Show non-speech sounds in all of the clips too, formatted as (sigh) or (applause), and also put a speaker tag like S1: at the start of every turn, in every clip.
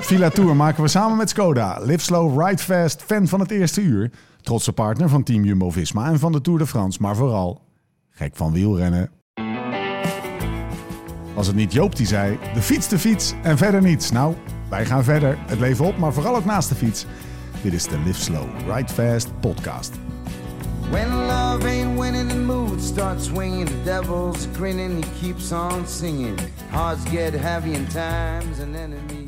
S1: Villa Tour maken we samen met Skoda. Live slow, ride fast, fan van het eerste uur. Trotse partner van Team Jumbo-Visma en van de Tour de France. Maar vooral, gek van wielrennen. Was het niet Joop die zei, de fiets, de fiets en verder niets. Nou, wij gaan verder. Het leven op, maar vooral ook naast de fiets. Dit is de Live Slow, Ride Fast podcast.
S2: When love ain't winning, the mood starts swinging. The devil's grinning, he keeps on singing. Hearts get heavy, and time's an enemy.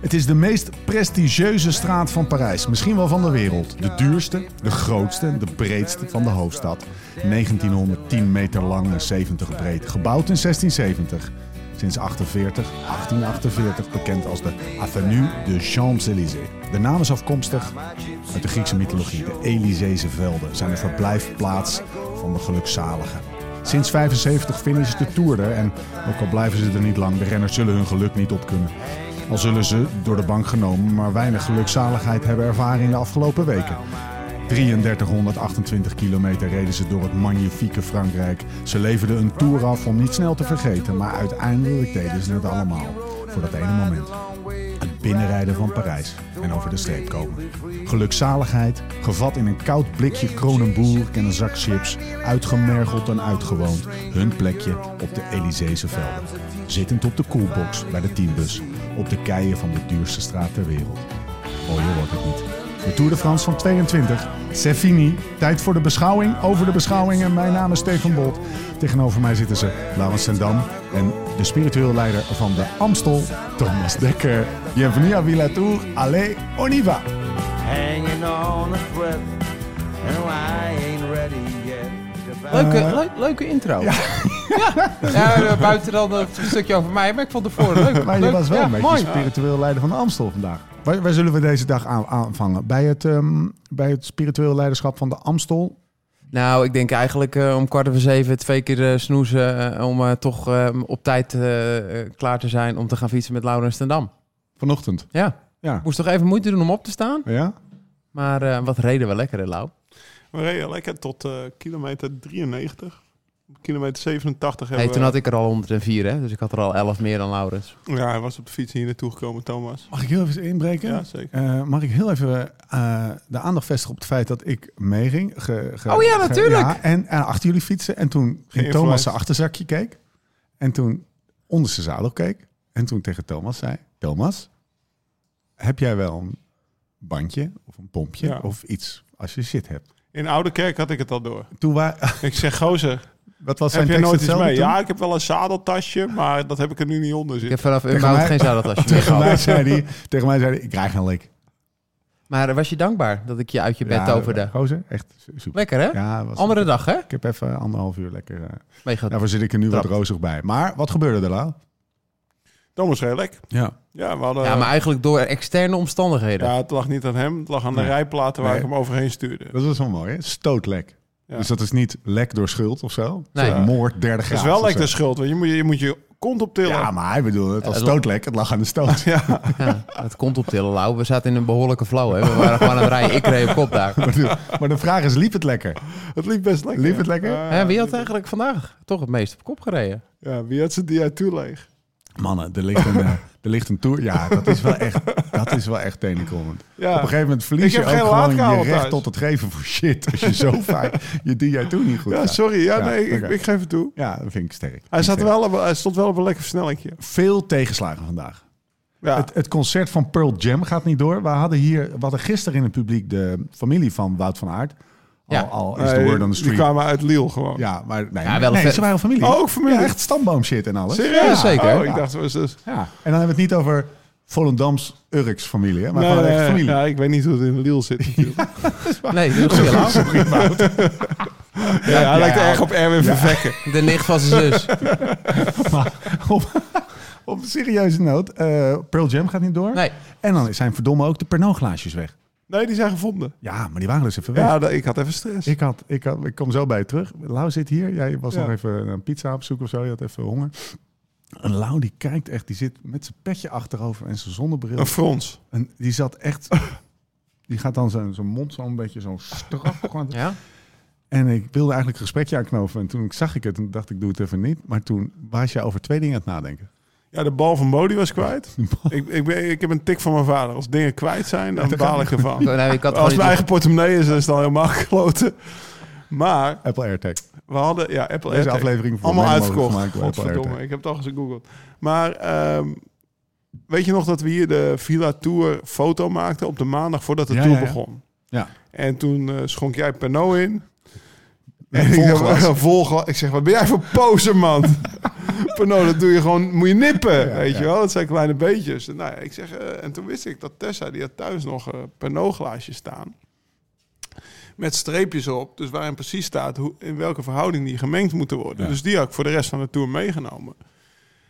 S1: Het is de meest prestigieuze straat van Parijs, misschien wel van de wereld. De duurste, de grootste en de breedste van de hoofdstad. 1910 meter lang en 70 breed, gebouwd in 1670. Sinds 48, 1848 bekend als de Avenue de Champs-Élysées. De naam is afkomstig uit de Griekse mythologie. De Elyseese velden zijn de verblijfplaats van de gelukzaligen. Sinds 75 finisht de Tour er en ook al blijven ze er niet lang, de renners zullen hun geluk niet op kunnen. Al zullen ze, door de bank genomen, maar weinig gelukzaligheid hebben ervaren in de afgelopen weken. 3328 kilometer reden ze door het magnifieke Frankrijk. Ze leverden een tour af om niet snel te vergeten, maar uiteindelijk deden ze het allemaal. Voor dat ene moment. Het binnenrijden van Parijs en over de streep komen. Gelukzaligheid, gevat in een koud blikje Kronenboer en een zak chips, uitgemergeld en uitgewoond, hun plekje op de Elysese velden. Zittend op de koelbox bij de teambus, op de keien van de duurste straat ter wereld. Mooier wordt Oh, het niet. De Tour de France van 22, c'est fini. Tijd voor de beschouwing, over de beschouwing en mijn naam is Stefan Bolt. Tegenover mij zitten ze Laurens Sendam en de spiritueel leider van de Amstel, Thomas Dekker. Bienvenue à Villa Tour, allez, on y va!
S2: Hanging on a thread, and I ain't ready yet.
S3: Leuke,
S1: Eh,
S3: leuk- leuke intro. Ja. Ja. eh, buiten dan het stukje over mij, maar ik vond het voor leuk.
S1: Maar je
S3: leuk.
S1: was wel
S3: ja,
S1: een beetje
S3: mooi.
S1: spiritueel leider van de Amstel vandaag. Waar, waar zullen we deze dag aan, aanvangen? Bij het, ehm, bij het spiritueel leiderschap van de Amstel?
S3: Nou, ik denk eigenlijk eh, om kwart over zeven twee keer eh, snoezen eh, om eh, toch eh, op tijd eh, eh, klaar te zijn om te gaan fietsen met Laurens ten Dam.
S1: Vanochtend.
S3: Ja,
S1: Ja.
S3: moest toch even moeite doen om op te staan.
S1: Ja?
S3: Maar eh, wat reden we lekker, hè, Lau?
S4: We reden lekker tot eh, kilometer 93. Kilometer 87
S3: Hey,
S4: hebben
S3: toen
S4: we...
S3: had ik er al 104, hè, dus ik had er al 11 meer dan Laurens.
S4: Ja, hij was op de fiets hier naartoe gekomen, Thomas.
S1: Mag ik heel even inbreken?
S4: Ja, zeker.
S1: Eh, mag ik heel even eh, de aandacht vestigen op het feit dat ik meeging? Ge- ge-
S3: Oh ja,
S1: ge-
S3: natuurlijk.
S1: ja, en, en achter jullie fietsen. En toen ging
S4: Geïnfluenced.
S1: Thomas zijn achterzakje keek. En toen onder zijn zadel keek. En toen tegen Thomas zei... Thomas, heb jij wel een bandje of een pompje
S4: Ja.
S1: of iets als je shit hebt?
S4: In Oude Kerk had ik het al door.
S1: Toen waar,
S4: Ik zeg, gozer,
S1: (laughs) wat was zijn
S4: heb jij
S1: tekst
S4: nooit iets
S1: hetzelfde
S4: mee?
S1: toen?
S4: Ja, ik heb wel een zadeltasje, maar dat heb ik er nu niet onder
S3: Ik
S4: zitten.
S3: heb vanaf
S1: mij-
S3: Unbound geen zadeltasje meer
S1: (laughs) Tegen
S3: gehad.
S1: mij zei hij, tegen mij zei hij ik krijg een lik.
S3: Maar eh, was je dankbaar dat ik je uit je bed toverde?
S1: Gozer, echt super.
S3: Lekker, hè?
S1: Ja, was,
S3: Andere dag, hè?
S1: ik heb even anderhalf uur lekker... eh,
S3: Meegaat.
S1: Daarvoor zit ik er nu wat
S3: Trapt.
S1: rozig bij. Maar wat gebeurde er, Lau?
S4: Thomas Relek.
S1: Ja.
S4: Ja, we hadden...
S3: Ja,
S4: Ja,
S3: maar eigenlijk door externe omstandigheden.
S4: het lag niet aan hem. Het lag aan de
S1: Nee.
S4: rijplaten waar
S1: Nee.
S4: ik hem overheen stuurde.
S1: Dat was wel mooi, hè? Stootlek.
S4: Ja.
S1: Dus dat is niet lek door schuld of zo.
S3: Nee.
S1: Zo'n Moord, derde
S4: Dat
S1: graad.
S4: is wel
S1: of
S4: lekker de
S1: zo.
S4: schuld, want je moet je, je moet je kont optillen.
S1: Ja, maar hij bedoelde het als
S3: Ja, dat-
S1: stootlek. Het lag aan de
S4: (laughs)
S1: stoot.
S3: Ja, dat komt op Tillen, Lau. We zaten in een behoorlijke flow. Hè. We waren gewoon aan het rijden. Ik reed op kop daar.
S1: (laughs) maar de vraag is, liep het lekker?
S4: Het liep best lekker.
S1: Liep het lekker?
S4: Ja,
S3: Hè, wie had eigenlijk vandaag toch het meest op kop gereden?
S4: ja, wie had zijn dia toe leeg?
S1: Mannen, er ligt een,
S4: (laughs)
S1: eh, er ligt een tour. Ja, dat is wel echt, dat is wel echt tenenkrommend.
S4: Ja.
S1: Op een gegeven moment verlies
S4: Ik
S1: je
S4: heb
S1: ook
S4: geen
S1: gewoon je
S4: laadkamer
S1: recht
S4: thuis.
S1: tot het geven voor shit. Als je
S4: (laughs)
S1: zo vaak je die jij toen niet goed
S4: Ja,
S1: gaat.
S4: sorry. Ja,
S1: Ja,
S4: nee, ik,
S1: oké.
S4: ik geef het toe.
S1: Ja, dat vind ik sterk.
S4: Hij, zat
S1: Sterk.
S4: wel op, hij stond wel op een lekker versnellingje.
S1: Veel tegenslagen vandaag.
S4: Ja.
S1: Het, het concert van Pearl Jam gaat niet door. We hadden hier, we hadden gisteren in het publiek de familie van Wout van Aert. Al,
S3: Ja.
S1: al is
S4: Nee,
S1: de word on the
S4: Die
S1: street.
S4: kwamen uit Liel gewoon.
S1: Ja, maar nee,
S3: Ja, wel
S1: nee
S3: een-
S1: ze waren familie.
S4: Oh, ook familie?
S1: Ja, echt stamboom shit en alles.
S4: Serieus?
S3: Ja, zeker.
S4: Oh, ik
S1: Ja.
S4: dacht, was dus...
S1: Ja. En dan hebben we het niet over Volendams Urks familie, hè, maar
S4: Nee,
S1: gewoon echt
S4: nee,
S1: familie.
S4: Ja, ik weet niet hoe het in Liel zit
S1: (laughs)
S4: natuurlijk. ja,
S3: Nee, dat is Lau.
S4: hij lijkt
S1: ja.
S4: erg op Erwin Vervekken.
S3: De nicht van zijn zus.
S1: (laughs) Maar op, op een serieuze noot, eh Pearl Jam gaat niet door.
S3: Nee.
S1: En dan zijn verdomme ook de Pernodglaasjes weg.
S4: Nee, die zijn gevonden.
S1: Ja, maar die waren dus even weg.
S4: Ja, dat- ik had even stress.
S1: Ik, had, ik, had, ik kom zo bij je terug. Lau zit hier. Jij was
S4: Ja.
S1: nog even een pizza op zoek of zo. Je had even honger. En Lau die kijkt echt. Die zit met zijn petje achterover en zijn zonnebril.
S4: Een frons.
S1: En die zat echt... (laughs) Die gaat dan zijn, zijn mond zo een beetje zo strak. gewoon.
S3: Ja?
S1: En ik wilde eigenlijk een gesprekje aanknopen. En toen zag ik het en dacht ik, doe het even niet. Maar toen was je over twee dingen aan het nadenken.
S4: Ja, de bal van Bodie was
S1: (laughs)
S4: kwijt. ik, ik, ben, ik heb een tik van mijn vader. Als dingen kwijt
S1: (laughs)
S4: zijn, dan baal ik ervan.
S3: Nou, ik had gewoon
S4: Als
S3: niet-
S4: mijn eigen portemonnee is, dan is het al helemaal (laughs) gekloten. Maar
S1: Apple AirTag.
S4: we hadden... Ja, Apple
S1: Deze
S4: AirTag.
S1: aflevering voor
S4: Allemaal
S1: mij mogelijk
S4: uitverkocht.
S1: gemaakt door Apple
S4: Godverdomme,
S1: AirTag.
S4: ik heb het al eens gegoogeld. Maar ehm, weet je nog dat we hier de Villa Tour foto maakten op de maandag voordat de
S1: Ja,
S4: tour
S1: ja, ja.
S4: begon?
S1: Ja.
S4: En toen eh, schonk jij Pernod in.
S1: Met
S4: En ik,
S1: vol
S4: dacht,
S1: glas. (laughs)
S4: (laughs) eh, vol glas. ik zeg, wat ben jij voor poser, man? (laughs) Pernod, dat doe je gewoon, moet je nippen,
S1: Ja,
S4: weet
S1: ja.
S4: je wel? Dat zijn kleine beetjes. En, nou, ja, ik zeg, eh, en toen wist ik dat Tessa, die had thuis nog eh Pernod glaasjes staan. Met streepjes op, dus waarin precies staat hoe, in welke verhouding die gemengd moeten worden.
S1: Ja.
S4: Dus die had ik voor de rest van de tour meegenomen.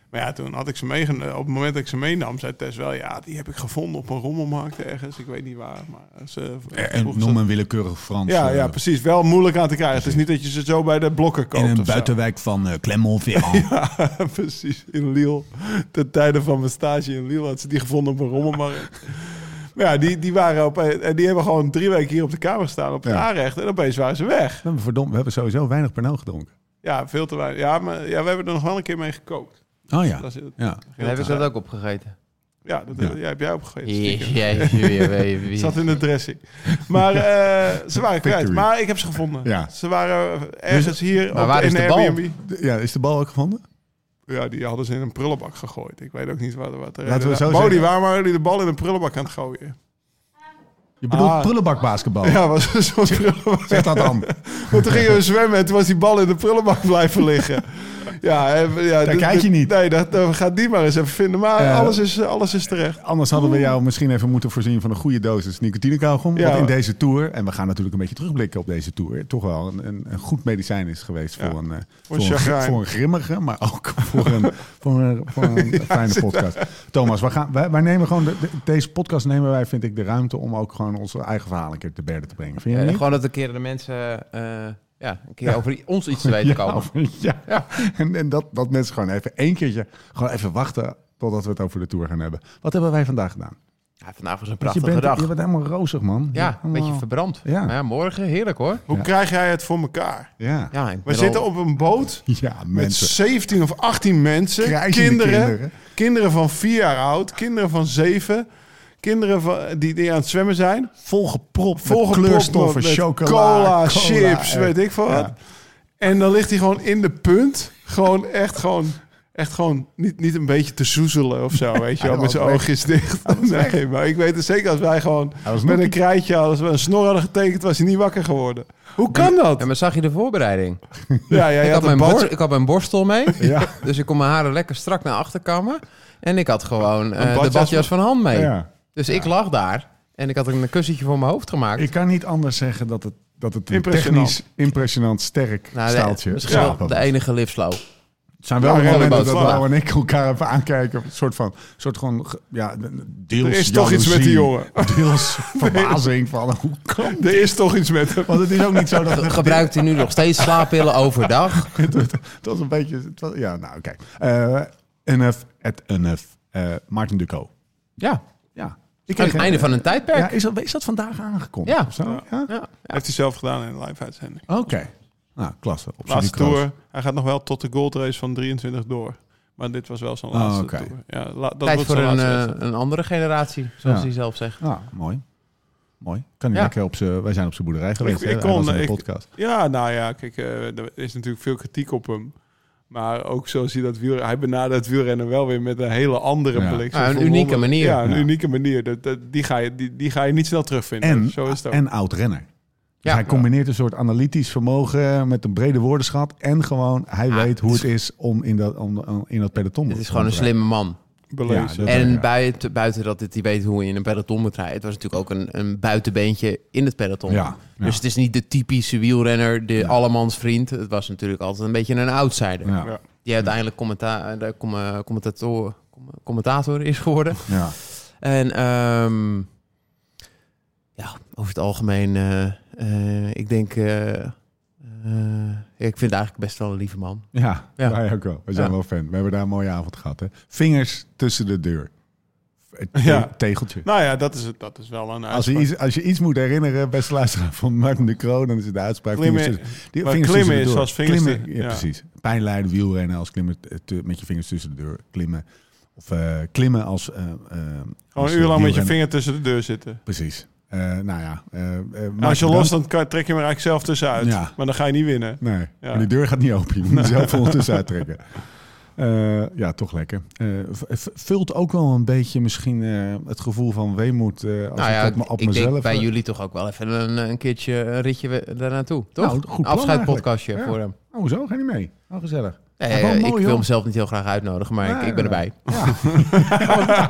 S4: Maar ja, toen had ik ze meegenomen. Op het moment dat ik ze meenam, zei Tess wel... ja, die heb ik gevonden op een rommelmarkt ergens. Ik weet niet waar, maar ze... vroeg
S1: En
S4: ze-
S1: noem een willekeurig Frans.
S4: ja,
S1: eh,
S4: ja, precies. Wel moeilijk aan te krijgen. Het is niet dat je ze zo bij de blokken koopt.
S1: in een
S4: of zo.
S1: buitenwijk van eh, Clermont-Ferrand.
S4: (laughs) Ja, (laughs) precies. In Lille. Ten tijde van mijn stage in Lille had ze die gevonden op een rommelmarkt. Maar ja, die, die waren op... En die hebben gewoon drie weken hier op de kamer staan, op het
S1: Ja.
S4: aanrecht. En opeens waren ze weg.
S1: We hebben verdomd, we hebben sowieso weinig Pernod gedronken.
S4: Ja, veel te weinig. Ja, maar ja, we hebben er nog wel een keer mee gekookt.
S1: Oh ja.
S4: Dat is het.
S1: Ja,
S3: Dan heb ik dat ook opgegeten.
S4: Ja, dat
S1: Ja.
S4: ja, heb jij opgegeten. stiekem.
S3: Jee,
S4: Zat in de dressing. Maar eh, ze waren kwijt.
S1: Victory.
S4: Maar ik heb ze gevonden.
S1: Ja.
S4: Ze waren eh, ergens hier
S3: Maar
S4: op,
S3: waar
S4: in
S3: is de bal?
S4: Airbnb.
S1: De- ja, is de bal ook gevonden?
S4: Ja, die hadden ze in een prullenbak gegooid. Ik weet ook niet waar wat er
S1: Laten we zo
S4: Bodie,
S1: zeggen.
S4: waarom waren jullie de bal in een prullenbak aan het gooien?
S1: Je bedoelt
S4: Ah.
S1: prullenbakbasketbal.
S4: (laughs) Ja, was een soort prullenbak.
S1: Zeg dat dan.
S4: Want toen gingen we zwemmen en toen was die bal in de prullenbak blijven (laughs) liggen. Ja, en, ja
S1: Daar
S4: dit-
S1: kijk je
S4: dit-
S1: niet.
S4: Nee, dat, dat gaat die maar eens even vinden. Maar
S1: Eh,
S4: alles, is, alles is terecht.
S1: Anders hadden we jou misschien even moeten voorzien van een goede dosis nicotinekauwgom.
S4: Ja.
S1: Wat in deze tour, en we gaan natuurlijk een beetje terugblikken op deze tour, toch wel een, een, een goed medicijn is geweest
S4: Ja.
S1: voor, een, eh, voor,
S4: een
S1: een,
S4: chagrijn.
S1: voor een grimmige, maar ook (laughs) voor een, voor een, voor
S4: (laughs)
S1: een fijne
S4: nou?
S1: podcast. Thomas, wij, gaan, wij, wij nemen gewoon de- de- deze podcast nemen wij, vind ik, de ruimte om ook gewoon onze eigen verhaal een keer te berden te brengen. Vind je niet?
S3: gewoon dat een keer de mensen eh, ja, een keer over ons iets te weten
S1: Ja,
S3: komen.
S1: of- (laughs) ja. en, en dat, dat mensen gewoon even één keertje gewoon even wachten totdat we het over de tour gaan hebben. Wat hebben wij vandaag gedaan?
S3: Ja, vandaag was een
S1: Want je,
S3: prachtige
S1: bent,
S3: dag.
S1: je bent helemaal rozig, man. Je
S3: ja,
S1: bent
S3: een beetje
S4: Oh.
S1: helemaal-
S3: verbrand.
S1: Ja.
S3: Maar ja, morgen heerlijk hoor.
S4: Hoe
S1: Ja.
S4: krijg jij het voor elkaar?
S1: Ja.
S3: Ja, ik
S4: We
S3: ben
S4: zitten
S3: al-
S4: op een boot
S1: Ja,
S4: met
S1: mensen.
S4: 17 of 18 mensen.
S1: Krijzende
S4: Kinderen,
S1: kinderen.
S4: kinderen. van 4 jaar oud, kinderen van 7. Kinderen van, die, die aan het zwemmen zijn.
S1: Volgepropt
S4: Volgepropt
S1: met kleurstoffen,
S4: met
S1: chocola,
S4: cola,
S1: cola,
S4: chips,
S1: eh,
S4: weet ik veel wat.
S1: ja.
S4: En dan ligt hij gewoon in de punt. Gewoon echt gewoon... Echt gewoon niet, niet een beetje te soezelen of zo, weet je
S1: hij
S4: wel. Met
S1: was
S4: zijn
S1: weg.
S4: oogjes dicht. Nee, maar ik weet het zeker als wij gewoon
S1: Hij was
S4: met
S1: nog-
S4: een krijtje, als we een snor hadden getekend, was hij niet wakker geworden. Hoe kan dat?
S3: Ja, maar zag je de voorbereiding?
S4: Ja, ja,
S3: ik,
S4: je
S3: had
S4: had een
S3: mijn bor-
S4: badje,
S3: ik had mijn borstel mee.
S1: (laughs) Ja.
S3: Dus ik kon mijn haren lekker strak naar achter kammen. En ik had gewoon eh, de
S4: badjas
S3: badjas van hand mee.
S1: Ja.
S3: Dus ik lag daar. En ik had een kussentje voor mijn hoofd gemaakt.
S1: Ik kan niet anders zeggen dat het, dat het een
S4: Impressionant.
S1: technisch impressionant sterk
S3: Nou, de-
S1: staaltje
S3: Misschien
S1: schaap
S3: wel
S1: was.
S3: de enige lifslow.
S1: Het zijn wel
S4: Nou,
S1: momenten
S4: redelijk
S1: dat
S4: wel.
S1: Lau en ik elkaar even aankijken. Een soort van, soort gewoon, ge- ja, deels
S4: Er is toch iets
S1: jaloezie,
S4: met die jongen. (laughs)
S1: Deels verbazing van, hoe kan
S4: Er is toch iets met hem.
S1: Want het is ook niet zo
S4: (laughs)
S1: dat...
S3: Gebruikt hij nu nog steeds
S1: (laughs)
S3: slaappillen overdag?
S1: Het was een beetje... het was- ja, nou, oké. Eh enough at enough. Eh Maarten Duco.
S3: Ja,
S1: Ja. Ik
S3: aan het einde van een tijdperk.
S1: Ja, is dat, is dat vandaag aangekondigd?
S3: Ja.
S1: of zo? ja.
S3: Ja.
S4: Heeft hij zelf gedaan in een live uitzending.
S1: Oké. Nou, klasse. Op zijn
S4: Laatste
S1: Duco's.
S4: tour. Hij gaat nog wel tot de gold race van 23 door. Maar dit was wel zijn
S1: Oh,
S4: laatste
S1: oké.
S4: tour. Ja, la- dat
S3: Tijd
S4: wordt
S3: voor
S4: zijn
S3: een,
S4: laatste
S3: eh,
S4: wedstrijd.
S3: een andere generatie, zoals
S1: Ja.
S3: hij zelf zegt.
S1: Nou, mooi. Mooi. Kan hij
S3: Ja.
S1: lekker op zijn... Wij zijn op zijn boerderij geweest.
S4: ik
S1: hè? Hij
S4: kon-
S1: was in de
S4: ik-
S1: podcast.
S4: Ja, nou ja, kijk, eh, er is natuurlijk veel kritiek op hem. Maar ook zoals hij dat wielrennen... Hij benadert wielrennen wel weer met een hele andere
S1: Ja.
S4: blik.
S3: Ah, een
S4: Voor
S3: unieke
S4: honderd-
S3: manier.
S4: Ja, een
S1: Ja.
S4: unieke manier. Dat, dat- die, ga je, die, die ga je niet snel terugvinden.
S1: En,
S4: Zo is het ook.
S1: en oud-renner. Dus
S3: Ja.
S1: hij combineert een soort analytisch vermogen met een brede woordenschat. En gewoon, hij
S3: Ah,
S1: weet hoe
S3: het
S1: het is om in dat, om, om in dat peloton
S3: Het is gewoon een slimme man.
S4: Belezen.
S1: ja, dat-
S3: En
S1: ja.
S3: buiten, buiten dat het, hij weet hoe je in een peloton moet rijden. Het was natuurlijk ook een, een buitenbeentje in het peloton.
S1: Ja, ja.
S3: Dus het is niet de typische wielrenner, de allemansvriend. Het was natuurlijk altijd een beetje een outsider.
S1: Ja.
S4: Ja.
S3: Die uiteindelijk commenta de com- eh, commentator, com- commentator is
S1: (laughs)
S3: geworden.
S1: Ja.
S3: En ehm, ja, over het algemeen, eh, eh, ik denk, eh, eh, ik vind het eigenlijk best wel een lieve
S1: Nou
S3: man.
S1: Ja,
S3: Ja.
S1: wij ook wel. We zijn
S3: Ja.
S1: wel fan. We hebben daar een mooie avond gehad. Hè? Vingers tussen de deur.
S3: (laughs)
S1: Het te-
S4: Ja.
S1: tegeltje.
S4: Nou ja, dat is, het, dat is wel
S1: als,
S4: een
S1: je
S4: uitspraak.
S1: iets, als je iets moet herinneren, beste luisteraar, van Martin de Croo, dan is het de uitspraak.
S4: Klimmen-
S1: vingers tussen- die
S4: maar
S1: vingers
S4: klimmen
S1: tussen de deur.
S4: is als vingers
S1: Klimmen,
S4: te-
S1: ja,
S4: ja.
S1: precies. Pijn lijden, wielrennen als klimmen eh, te- met je vingers tussen de deur. Klimmen Of eh, klimmen als... eh, eh,
S4: Gewoon
S1: als
S4: een uur lang met je
S1: wielrenner.
S4: vinger tussen de deur zitten.
S1: Precies. Eh, nou ja. eh, eh,
S4: En als je
S1: Maarten Brand-
S4: los, dan kan- trek je hem er eigenlijk zelf tussenuit.
S1: Ja.
S4: Maar dan ga je niet winnen. (laughs)
S1: Nee, maar die deur gaat niet open. Je moet hem zelf ondertussen uittrekken. Eh, ja, toch lekker. Eh, v- v- vult ook wel een beetje misschien eh, het gevoel van weemoed eh, als
S3: Nou
S1: ik
S3: ja,
S1: dat me- op
S3: ik
S1: mezelf...
S3: denk bij
S1: eh,
S3: jullie toch ook wel even een, een keertje een ritje we- daar naartoe, toch?
S1: Nou, goed plan
S3: een afscheidpodcastje
S1: eigenlijk.
S3: voor hem.
S1: Oh, zo? Ga niet mee? Oh,
S3: (laughs)
S1: gezellig.
S3: Nee,
S1: Ja, wel
S3: ik
S1: mooi,
S3: wil
S1: hoor.
S3: hem zelf niet heel graag uitnodigen, maar ik,
S1: Nee,
S3: ik ben
S1: nee,
S3: erbij.
S1: Ja.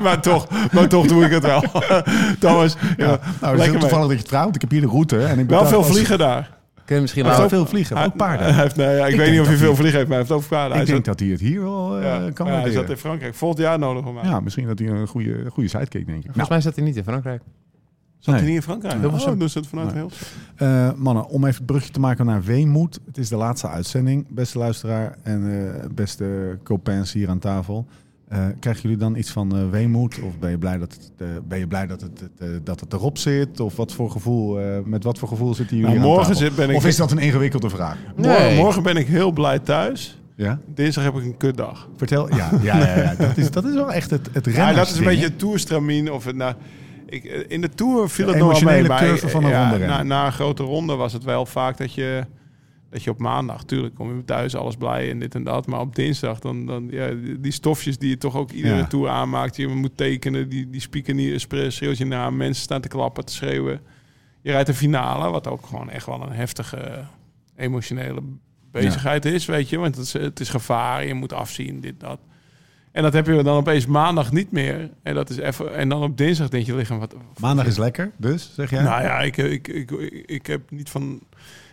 S4: maar, toch, maar toch doe ik het wel. (laughs) Thomas,
S1: Ja,
S4: ja.
S1: nou, het is
S4: lekker
S1: heel
S4: mee.
S1: toevallig dat je het vraagt, want ik heb hier de route. En ik
S4: wel
S1: betaal-
S4: veel
S1: als-
S4: vliegen daar.
S3: Kun je misschien
S1: Hij heeft
S3: later...
S1: ook veel vliegen, ook paarden.
S4: Hij heeft, nou ja, ik,
S1: Ik
S4: weet
S1: denk
S4: niet of hij
S1: dat
S4: veel
S1: hij-
S4: vliegen heeft, maar hij heeft ook paarden. Hij
S1: ik denk
S4: zat,
S1: dat hij het hier wel eh,
S4: ja,
S1: kan
S4: maar ja, hij
S1: waarderen.
S4: zat in Frankrijk. Volgend jaar nodig om mij.
S1: Ja, misschien dat hij een goede, goede sidekick, denk ik. Nou,
S3: Volgens mij zat hij niet in Frankrijk.
S4: Zat hij
S1: Nee.
S4: niet in Frankrijk?
S1: Nee.
S4: Dat was
S1: Oh.
S4: ook dus het vanuit
S1: Nee.
S4: heel.
S1: Eh, mannen, om even het brugje te maken naar Weemoed. Het is de laatste uitzending, beste luisteraar en eh, beste Copens hier aan tafel. Eh, krijgen jullie dan iets van eh, Weemoed? Of ben je blij dat het, eh, ben je blij dat het, het, eh, dat het erop zit? Of wat voor gevoel, eh, met wat voor gevoel zitten jullie
S4: Nou,
S1: aan
S4: morgen
S1: tafel?
S4: zit- ben ik-
S1: Of is dat een ingewikkelde vraag?
S4: Morgen,
S3: Nee.
S4: morgen ben ik heel blij thuis.
S1: Ja?
S4: Dinsdag heb ik een kutdag.
S1: Vertel. Ja, ja, ja, ja. Dat, is, dat is wel echt het, het
S4: Ja, dat is een
S1: rennersding,
S4: beetje
S1: hè?
S4: het toerstramien. Of het, nou, ik, eh, in de tour viel
S1: De
S4: het nog wel mee.
S1: emotionele
S4: maar
S1: curve van een
S4: ja,
S1: ronde
S4: na,
S1: rennen.
S4: na een grote ronde was het wel vaak dat je, dat je op maandag... Tuurlijk kom je thuis, alles blij en dit en dat. Maar op dinsdag, dan, dan, ja, die stofjes die je toch ook iedere
S1: Ja.
S4: tour aanmaakt. Die je moet tekenen, die, die spieken niet, schreeuwt je na. Mensen staan te klappen, te schreeuwen. Je rijdt de finale, wat ook gewoon echt wel een heftige emotionele bezigheid is, weet je. Want het is, het is gevaar, je moet afzien, dit, dat. En dat heb je dan opeens maandag niet meer. En, dat is even, en dan op dinsdag denk je lichaam... Wat,
S1: Maandag is lekker, dus zeg jij?
S4: Nou ja, ik, ik, ik, ik, ik heb niet van...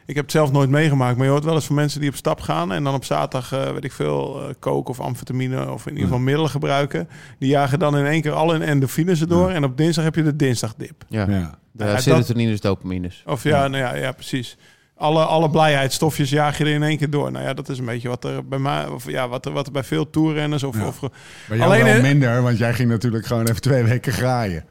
S4: Ik heb het zelf nooit meegemaakt, maar je hoort wel eens van mensen die op stap gaan en dan op zaterdag, eh, weet ik veel, eh, kook of amfetamine of in ieder geval middelen gebruiken. Die jagen dan in één keer alle endorfines erdoor en op dinsdag heb je de dinsdagdip.
S3: Ja,
S1: ja.
S3: de
S4: Ja, dat-
S3: serotonines, dopamines.
S4: Of ja, nou ja, ja precies. Alle, alle blijheidsstofjes jaag je er in één keer door. Nou ja, dat is een beetje wat er bij mij, of ja, wat er, wat er bij veel toerrenners of,
S1: Ja.
S4: of
S1: Maar jou
S4: Alleen,
S1: wel
S4: eh,
S1: minder, want jij ging natuurlijk gewoon even twee weken graaien.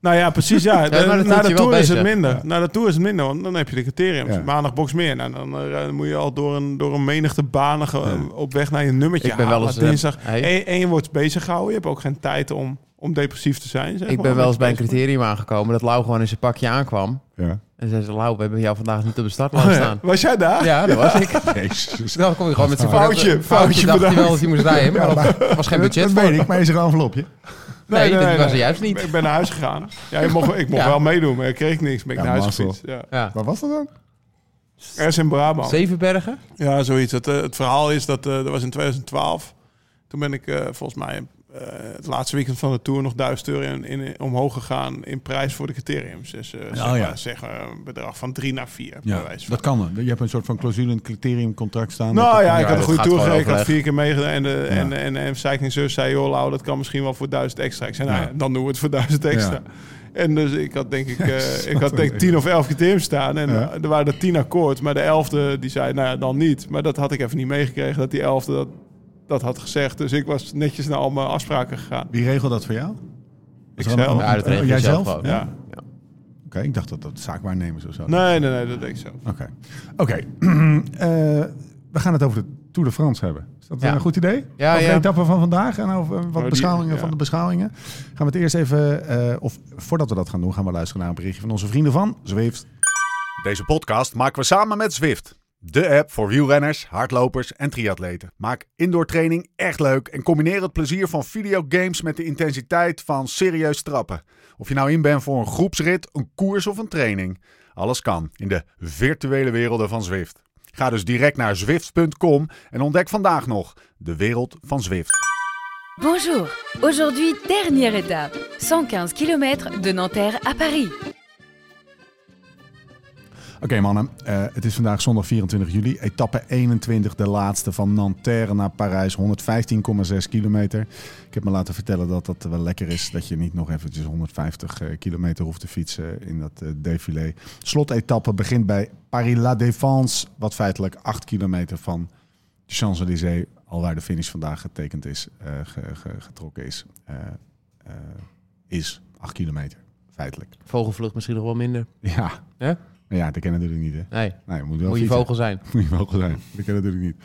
S4: Nou ja, precies. Ja.
S3: maar dat
S4: Na
S3: hield
S4: de
S3: je wel
S4: Tour is
S3: bezig.
S4: het minder. Na de Tour is het minder, want dan heb je de criterium.
S1: Ja.
S4: Maandag box meer. Nou, dan eh, moet je al door een, door een menigte banen ge- op weg naar je nummertje.
S3: Ik ben wel
S4: halen.
S3: eens, eh,
S4: dinsdag.
S3: hey.
S4: En, en je wordt bezig gehouden. Je hebt ook geen tijd om, om depressief te zijn. Zeg
S3: Ik
S4: maar.
S3: ben wel eens bij een
S4: Bezig.
S3: criterium aangekomen dat Lau gewoon in zijn pakje
S1: (laughs)
S3: aankwam.
S1: Ja.
S3: En zei ze, Lau, we hebben jou vandaag niet op de
S1: Oh,
S3: startlijst staan.
S4: Was jij daar?
S3: Ja, dat was ik. Dus
S1: Jezus.
S3: Dan kom
S1: (laughs)
S3: je gewoon met zijn
S4: Foutje,
S3: pakje.
S4: foutje
S3: dacht hij
S4: bedankt.
S3: wel dat hij moest rijden, maar dat was geen
S1: Dat,
S3: budget
S1: dat
S3: voor.
S1: weet ik, maar is er een envelopje?
S3: Nee, dat was er juist niet.
S4: Ik ben naar huis gegaan. Ja, ik mocht, ik mocht
S3: Ja.
S4: wel meedoen, maar ik kreeg niks. Ben ik
S1: Ja,
S4: naar huis
S1: mazzel.
S4: gefietst. Ja.
S3: Ja.
S1: Waar was dat dan?
S4: Ergens in Brabant.
S3: Zevenbergen?
S4: Ja, zoiets. Het, eh, het verhaal is dat eh dat was in 2012. Toen ben ik eh, volgens mij eh, het laatste weekend van de tour nog duizend euro in, in- omhoog gegaan in prijs voor de criteriums. Dus eh, zeg,
S1: Oh ja.
S4: maar, zeg maar een bedrag van drie naar vier. bij wijze van.
S1: dat kan. hè. Je hebt een soort van clausule in criteriumcontract staan.
S4: Nou ja, ik
S3: ja,
S4: had een
S3: dat
S4: goede
S3: gaat
S4: tour
S3: gewoon
S4: gereden. Ik had
S3: overleg.
S4: vier keer meegedaan. En, de, en, en, en, Seiking zus zei, joh Lau, dat kan misschien wel voor duizend extra. Ik zei, nou
S1: Ja.
S4: ja, dan doen we het voor duizend extra. En dus ik had
S3: (laughs)
S4: denk ik, eh, ik had denk ik tien of elf criteriums staan. En eh,
S1: Ja.
S4: er waren er tien akkoord. Maar de elfde, die zei, nou ja, dan niet. Maar dat had ik even niet meegekregen, dat die elfde dat, dat had gezegd. Dus ik was netjes naar al mijn afspraken gegaan.
S1: Wie regelt dat voor jou?
S4: Ik zelf.
S3: Ja, dat regel je
S1: Oh, jij
S3: zelf
S1: zelf?
S3: gewoon.
S1: Oké,
S4: Ja.
S1: ik dacht dat dat zaakwaarnemers of zo.
S4: Nee, nee, nee, dat deed ik zo.
S1: Oké. Oké. (clears throat) Eh, we gaan het over de Tour de France hebben. Is dat eh,
S3: Ja.
S1: een goed idee?
S3: Ja,
S1: over
S3: ja.
S1: de etappe van vandaag en over eh, wat
S4: die-
S1: beschouwingen
S4: ja.
S1: van de beschouwingen. Gaan we het eerst even, eh, of voordat we dat gaan doen, gaan we luisteren naar een berichtje van onze vrienden van Zweeft.
S5: Deze podcast maken we samen met Zwift. De app voor wielrenners, hardlopers en triatleten. Maak indoor training echt leuk en combineer het plezier van videogames met de intensiteit van serieus trappen. Of je nou in bent voor een groepsrit, een koers of een training. Alles kan in de virtuele werelden van Zwift. Ga dus direct naar zwift.com en ontdek vandaag nog de wereld van Zwift.
S6: Bonjour, aujourd'hui dernière étape, 115 km de Nanterre à Paris.
S1: Oké mannen, eh, het is vandaag zondag 24 juli. Etappe 21, de laatste van Nanterre naar Parijs. 115,6 kilometer. Ik heb me laten vertellen dat dat wel lekker is. Dat je niet nog eventjes 150 eh, kilometer hoeft te fietsen in dat eh, défilé. Slotetappe begint bij Paris-La Défense. Wat feitelijk 8 kilometer van de Champs-Élysées... alwaar de finish vandaag getekend is, eh, ge- ge- getrokken is. eh, eh, is 8 kilometer, feitelijk.
S3: Vogelvlucht misschien nog wel minder.
S1: Ja,
S3: Ja?
S1: maar ja dat ken je natuurlijk niet hè.
S3: Nee,
S1: Nee, je moet wel
S3: (laughs) moet je
S1: fietsen.
S3: vogel zijn.
S1: Moet je wel zijn. Dat kan natuurlijk niet.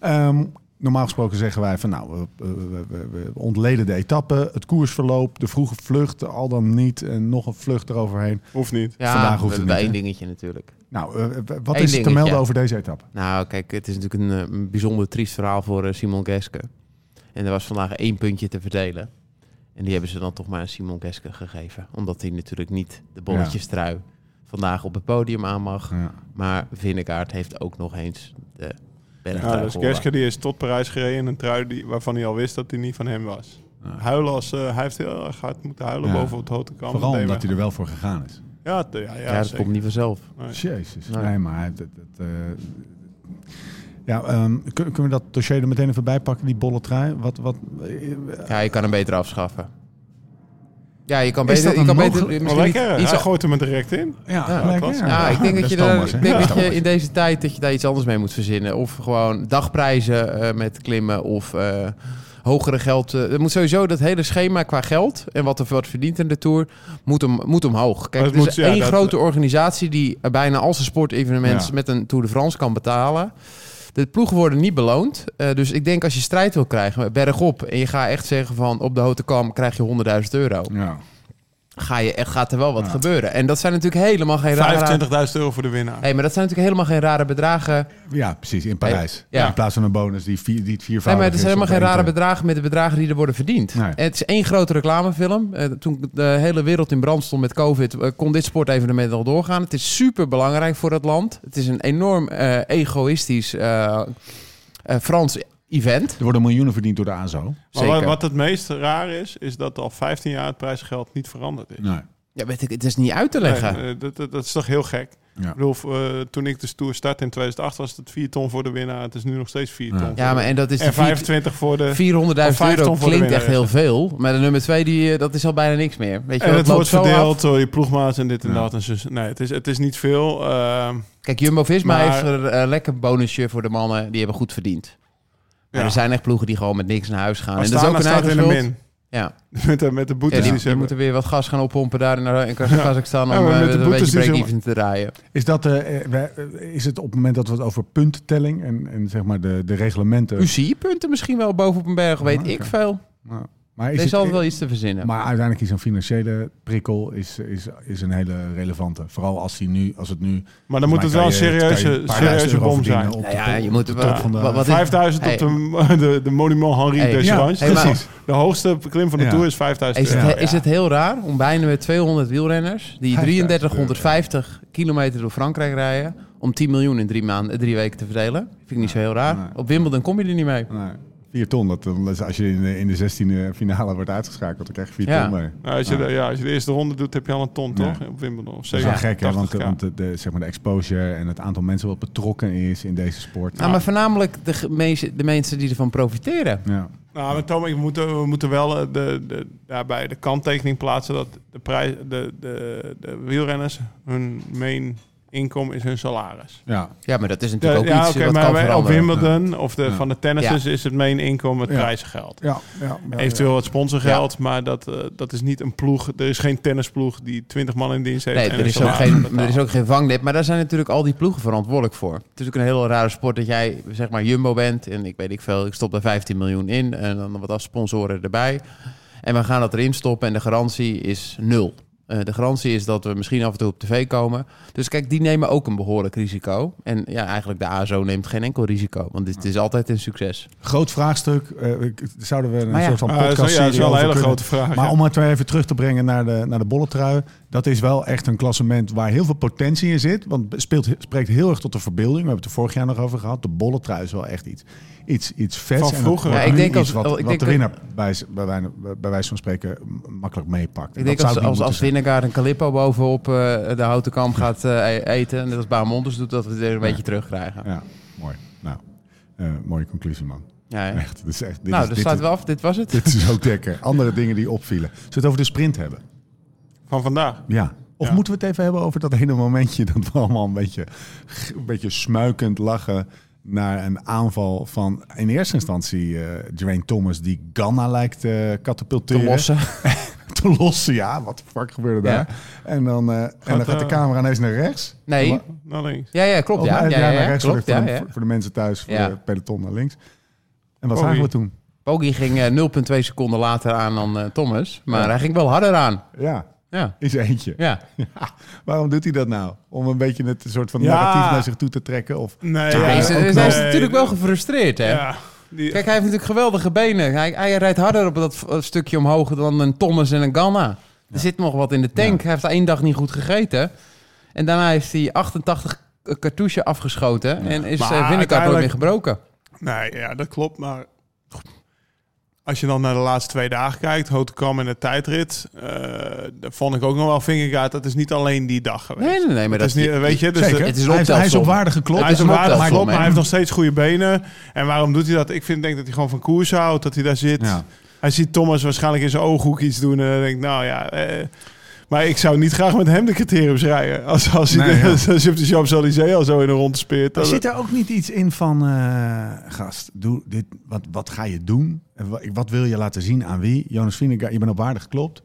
S1: Ehm, normaal gesproken zeggen wij van nou, we, we- we- we ontleden de etappe, het koersverloop, de vroege vlucht, al dan niet en nog een vlucht eroverheen.
S4: Hoeft niet.
S3: Ja,
S1: Vandaag hoeft
S3: we
S1: het
S3: hebben
S1: niet,
S3: één
S1: hè?
S3: dingetje natuurlijk.
S1: Nou, eh, eh, wat
S3: Eén
S1: is er te
S3: dingetje.
S1: melden over deze etappe?
S3: Nou, kijk, het is natuurlijk een, eh, een bijzonder triest verhaal voor eh, Simon Geske. En er was vandaag één puntje te verdelen. En die hebben ze dan toch maar aan Simon Geske gegeven. Omdat hij natuurlijk niet de bolletjestrui vandaag op het podium aan mag.
S1: Ja.
S3: Maar Vinnegaard heeft ook nog eens de
S4: Ja,
S3: bergtrui
S4: dus
S3: gewonnen.
S4: Gerske die is tot Parijs gereden in een trui die, waarvan hij al wist dat die niet van hem was. Huilen als, eh, hij heeft heel erg hard moeten huilen
S1: Ja.
S4: boven het houten kamp.
S1: Vooral omdat hij er wel voor gegaan is.
S4: Ja, t- ja, ja,
S3: Ja, dat
S4: zeker.
S3: komt niet vanzelf.
S1: Jezus. Nee,
S3: Nee.
S1: maar hij- dat, dat, eh, ja, ehm, kun- kunnen we dat dossier er meteen even bij pakken, die bolle trui? Wat, wat, eh,
S3: Ja, je kan hem beter afschaffen. Ja, je kan
S1: Is
S3: beter,
S1: dat
S3: je
S1: een
S3: kan beter
S1: mogelijk-
S4: Maar
S3: misschien niet
S4: Oh, lekker,
S3: iets
S4: hij gooit hem er direct in.
S1: ja,
S3: Ja,
S1: gelijk,
S4: klasse.
S3: Ja, ik denk dat je,
S1: is
S3: daar-
S1: Thomas, hè?
S3: ik denk
S1: Ja,
S3: dat je
S1: Thomas.
S3: in deze tijd dat je daar iets anders mee moet verzinnen. Of gewoon dagprijzen eh, met klimmen of eh, hogere geld. eh, er moet sowieso dat hele schema qua geld en wat er wat verdient in de Tour, moet, om, moet omhoog. Kijk,
S4: Maar het
S3: er is
S4: moet- ja,
S3: één
S4: dat-
S3: grote organisatie die bijna al zijn sportevenementen
S1: Ja.
S3: met een Tour de France kan betalen. De ploegen worden niet beloond. Eh, dus ik denk als je strijd wil krijgen, bergop. En je gaat echt zeggen van op de houten kam krijg je 100.000 euro.
S1: Ja.
S3: Ga je, echt- gaat er wel wat gebeuren. En dat zijn natuurlijk helemaal geen rare...
S4: 25.000 euro voor de winnaar.
S3: Hey, maar dat zijn natuurlijk helemaal geen rare bedragen.
S1: ja, precies, in Parijs.
S3: Ja.
S1: In plaats van een bonus die, vier, die het viervoudig
S3: Nee, maar het is helemaal
S1: op
S3: geen
S1: één
S3: rare
S1: keer.
S3: bedragen met de bedragen die er worden verdiend.
S1: Nee.
S3: Het is één grote reclamefilm. Eh, toen de hele wereld in brand stond met COVID, eh, kon dit sportevenement al doorgaan. Het is super belangrijk voor het land. Het is een enorm eh, egoïstisch eh, eh, Frans event.
S1: Er worden miljoenen verdiend door de ASO.
S4: Maar
S3: Zeker.
S4: wat, wat het meest raar is, is dat al 15 jaar het prijsgeld niet veranderd is.
S1: Nee.
S3: Ja, weet ik, het is niet uit te leggen.
S4: Nee, eh, dat, dat, dat is toch heel gek.
S1: Ja.
S4: Ik bedoel, v- eh, toen ik de Tour startte in 2008 was het 4 ton voor de winnaar. Het is nu nog steeds 4
S1: Ja.
S4: ton. voor
S3: ja, maar en dat is
S4: de-
S3: de
S4: en
S3: vier-
S4: 25 voor de...
S3: 400.000
S4: Of vijf
S3: euro
S4: ton voor de
S3: klinkt echt
S4: winnaar.
S3: heel veel. Maar de nummer twee, die, eh, dat is al bijna niks meer. Weet je, wel,
S4: En het
S3: loopt
S4: wordt
S3: zo af.
S4: verdeeld door je ploegmaats en dit en
S1: Ja.
S4: dat. En zus. Nee, het is, het is niet veel. ehm,
S3: Kijk, Jumbo-Visma
S4: Maar-
S3: heeft er een lekker bonusje voor de mannen. Die hebben goed verdiend. Maar
S4: Ja.
S3: er zijn echt ploegen die gewoon met niks naar huis gaan.
S4: maar
S3: en dat is ook
S4: Astana
S3: een
S4: staat
S3: eigen
S4: in de
S3: schuld.
S4: min. (laughs)
S3: Ja,
S4: Met de, met de
S3: ja die,
S4: boetes die ze
S3: die
S4: hebben.
S3: moeten weer wat gas gaan oppompen daar in, eh, in Kaz- Kazachstan...
S4: Ja,
S3: om
S4: maar
S3: eh,
S4: met de
S3: een
S4: boetes
S3: beetje
S4: die ze-
S3: break-even te draaien.
S1: Is, dat, eh, eh, wij- eh, is het op het moment dat we het over puntentelling en, en zeg maar de, de reglementen...
S3: UCI-punten misschien wel boven op een berg, weet
S1: Ah,
S3: ik
S1: oké.
S3: veel.
S1: Ja. maar
S3: Er
S1: is
S3: is altijd wel
S1: het, eh,
S3: iets te verzinnen.
S1: maar uiteindelijk is een financiële prikkel is, is, is een hele relevante. Vooral als, die nu, als het nu...
S4: Maar dan moet het wel een eh, serieuze, serieuze bom zijn.
S3: Nou ja, je moet
S1: wel
S3: wel- wat- wat-
S4: 5000
S3: Hey.
S4: op de, (laughs) de, de Monument Henri
S3: Hey.
S4: de
S1: Ja,
S4: Schwans.
S3: hey, maar-
S4: De hoogste klim van de
S1: Ja.
S4: Tour is 5000
S3: Is het,
S4: euro.
S3: he- is het heel raar om bijna met 200 wielrenners... die 3350 kilometer door Frankrijk rijden... om 10 miljoen in drie, maanden, eh, drie weken te verdelen? Vind ik niet zo heel raar.
S1: Nee.
S3: Op Wimbledon kom je er niet mee.
S1: Nee, 4 Nou, ton, dat, dan is- als je in de, in de 16e finale wordt uitgeschakeld, dan krijg je 4
S3: Ja.
S1: ton mee.
S4: Nou, als, je de, ja, als je de eerste ronde doet, heb je al een ton,
S1: Ja.
S4: toch? Op Wimbledon. Of
S1: Dat is wel gek, hè,
S4: 70,
S1: want, eh,
S4: 80K.
S1: want de, de- zeg maar de exposure en het aantal mensen wat betrokken is in deze sport.
S3: Nou, maar voornamelijk de, ge- meeste- de mensen die ervan profiteren.
S1: Ja.
S4: Nou, maar Tom, ik moet, we moeten wel eh, de, de, daarbij de kanttekening plaatsen dat de, prijs, de, de, de wielrenners, hun main inkomen is hun salaris.
S1: Ja.
S3: Ja, maar dat is
S4: De-
S3: natuurlijk ook
S4: ja,
S3: iets
S4: oké,
S3: wat
S4: maar
S3: kan
S4: wij- op
S3: veranderen.
S4: Wimbledon of de, van de tennissers is het main inkomen het
S1: Ja.
S4: prijzengeld.
S1: Ja, ja, ja,
S4: Eventueel wat sponsorgeld, maar dat, eh, dat is niet een ploeg. Er is geen tennisploeg die 20 man in dienst heeft.
S3: Nee,
S4: en
S3: er
S4: een
S3: is, ook
S4: salaris
S3: geen,
S4: (laughs) betaalt.
S3: er is ook geen vangnet. Maar daar zijn natuurlijk al die ploegen verantwoordelijk voor. Het is natuurlijk een hele rare sport dat jij, zeg maar, Jumbo bent. En ik weet ik veel, ik stop daar 15 miljoen in. En dan wat als sponsoren erbij. En we gaan dat erin stoppen en de garantie is nul. Eh, de garantie is dat we misschien af en toe op tv komen. Dus kijk, die nemen ook een behoorlijk risico. En ja, eigenlijk de ASO neemt geen enkel risico. Want het is altijd een succes.
S1: Groot vraagstuk. eh, ik- zouden we een
S3: Maar Eh, ja.
S1: soort van
S4: Ah, dat is-
S1: podcast
S4: ja, dat is wel een hele grote vraag.
S1: Maar
S4: ja.
S1: om het weer even terug te brengen naar de, naar de bolletrui. Dat is wel echt een klassement waar heel veel potentie in zit. Want speelt, spreekt heel erg tot de verbeelding. We hebben het er vorig jaar nog over gehad. De bolletrui is wel echt iets, iets, iets vets.
S4: Van
S1: En dat
S4: vroeger.
S1: wordt
S3: Ja, ik
S1: nu
S3: denk
S1: iets
S3: als-
S1: wat,
S3: ik
S1: wat
S3: denk
S1: de
S3: dat-
S1: winnaar bij, z- bij, wij- bij wijze van spreken m- makkelijk meepakt. En
S3: Ik denk
S1: dat
S3: als,
S1: zou het
S3: als,
S1: niet
S3: als
S1: moeten
S3: Winnegaard een Calippo bovenop eh, de houten
S1: (laughs)
S3: kam gaat eh, e- eten... en net als Baamonders doet, dat we het weer een beetje terugkrijgen.
S1: zijn. Ja, mooi. Nou, eh, mooie conclusie man.
S3: Ja, hè?
S1: Echt, dit is echt, dit
S3: nou,
S1: is,
S3: dat
S1: dit
S3: staat
S1: is-
S3: wel af. Dit was het.
S1: Dit is ook lekker. Andere dingen die opvielen. Zullen we het over de sprint hebben?
S4: Van vandaag.
S1: Ja. Of
S4: Ja.
S1: moeten we het even hebben over dat ene momentje dat we allemaal een beetje, een beetje smuikend lachen naar een aanval van in eerste instantie eh, Dwayne Thomas die Ganna lijkt te katapulteren.
S3: Te lossen.
S1: (laughs) Te lossen, ja. Wat de fuck gebeurde daar? En dan, eh, en dan gaat de
S4: eh,
S1: camera ineens naar rechts.
S3: (laughs) Nee.
S4: Naar links.
S3: Ja, ja, klopt.
S1: Of,
S3: Ja,
S1: eh,
S3: ja, ja,
S1: naar
S3: ja,
S1: rechts
S3: klopt.
S1: voor,
S3: Ja,
S1: de,
S3: ja.
S1: voor de mensen thuis, voor
S3: Ja.
S1: de peloton naar links. En wat
S4: Oh,
S1: zagen we
S4: jee.
S1: toen?
S3: Poggi ging eh, 0,2 seconden later aan dan eh, Thomas. Maar hij ging wel harder aan.
S1: Ja,
S3: Ja,
S1: is eentje.
S3: ja.
S1: Waarom doet hij dat nou? Om een beetje het soort van
S4: Ja.
S1: narratief naar zich toe te trekken? Of...
S4: Nee,
S3: Hij is,
S1: ook
S3: hij is
S1: nog-
S3: natuurlijk wel gefrustreerd, hè?
S4: Ja, die,
S3: Kijk, hij heeft natuurlijk geweldige benen. Hij, hij rijdt harder op dat v- eh, stukje omhoog dan een Thomas en een Ganna. Er zit nog wat in de tank. Hij heeft één dag niet goed gegeten. En daarna heeft hij 88 cartouche afgeschoten. En is eh,
S4: Maar
S3: zijn binnenkant nooit
S4: uiteindelijk-
S3: meer gebroken.
S4: nee, ja, dat klopt. Maar als je dan naar de laatste twee dagen kijkt, Hotekam en de tijdrit, eh daar vond ik ook nog wel vingergaard. Dat is niet alleen die dag geweest.
S3: Nee, nee, nee. Maar
S4: dat is niet, weet je, dus
S1: Zeker.
S3: het is een
S1: hij, is, hij is
S3: optelsom.
S1: op waarde geklopt.
S4: hij is
S3: een
S4: een aardig
S3: optelsom,
S4: klopt, maar
S3: hè?
S4: hij heeft nog steeds goede benen. En waarom doet hij dat? Ik vind, denk dat hij gewoon van koers houdt, dat hij daar zit.
S1: Ja.
S4: Hij ziet Thomas waarschijnlijk in zijn ooghoek iets doen. En dan denk ik, nou ja... eh, maar ik zou niet graag met hem de criteriums rijden. Als, als, hij,
S1: Nee, ja.
S4: (laughs) als hij op de Champs-Élysées al zo in de rond speelt.
S1: Er
S4: Dan-
S1: zit er ook niet iets in van, eh, gast, doe dit, wat, wat ga je doen? En wa- Wat wil je laten zien aan wie? Jonas Vingegaard, je bent op waarde geklopt.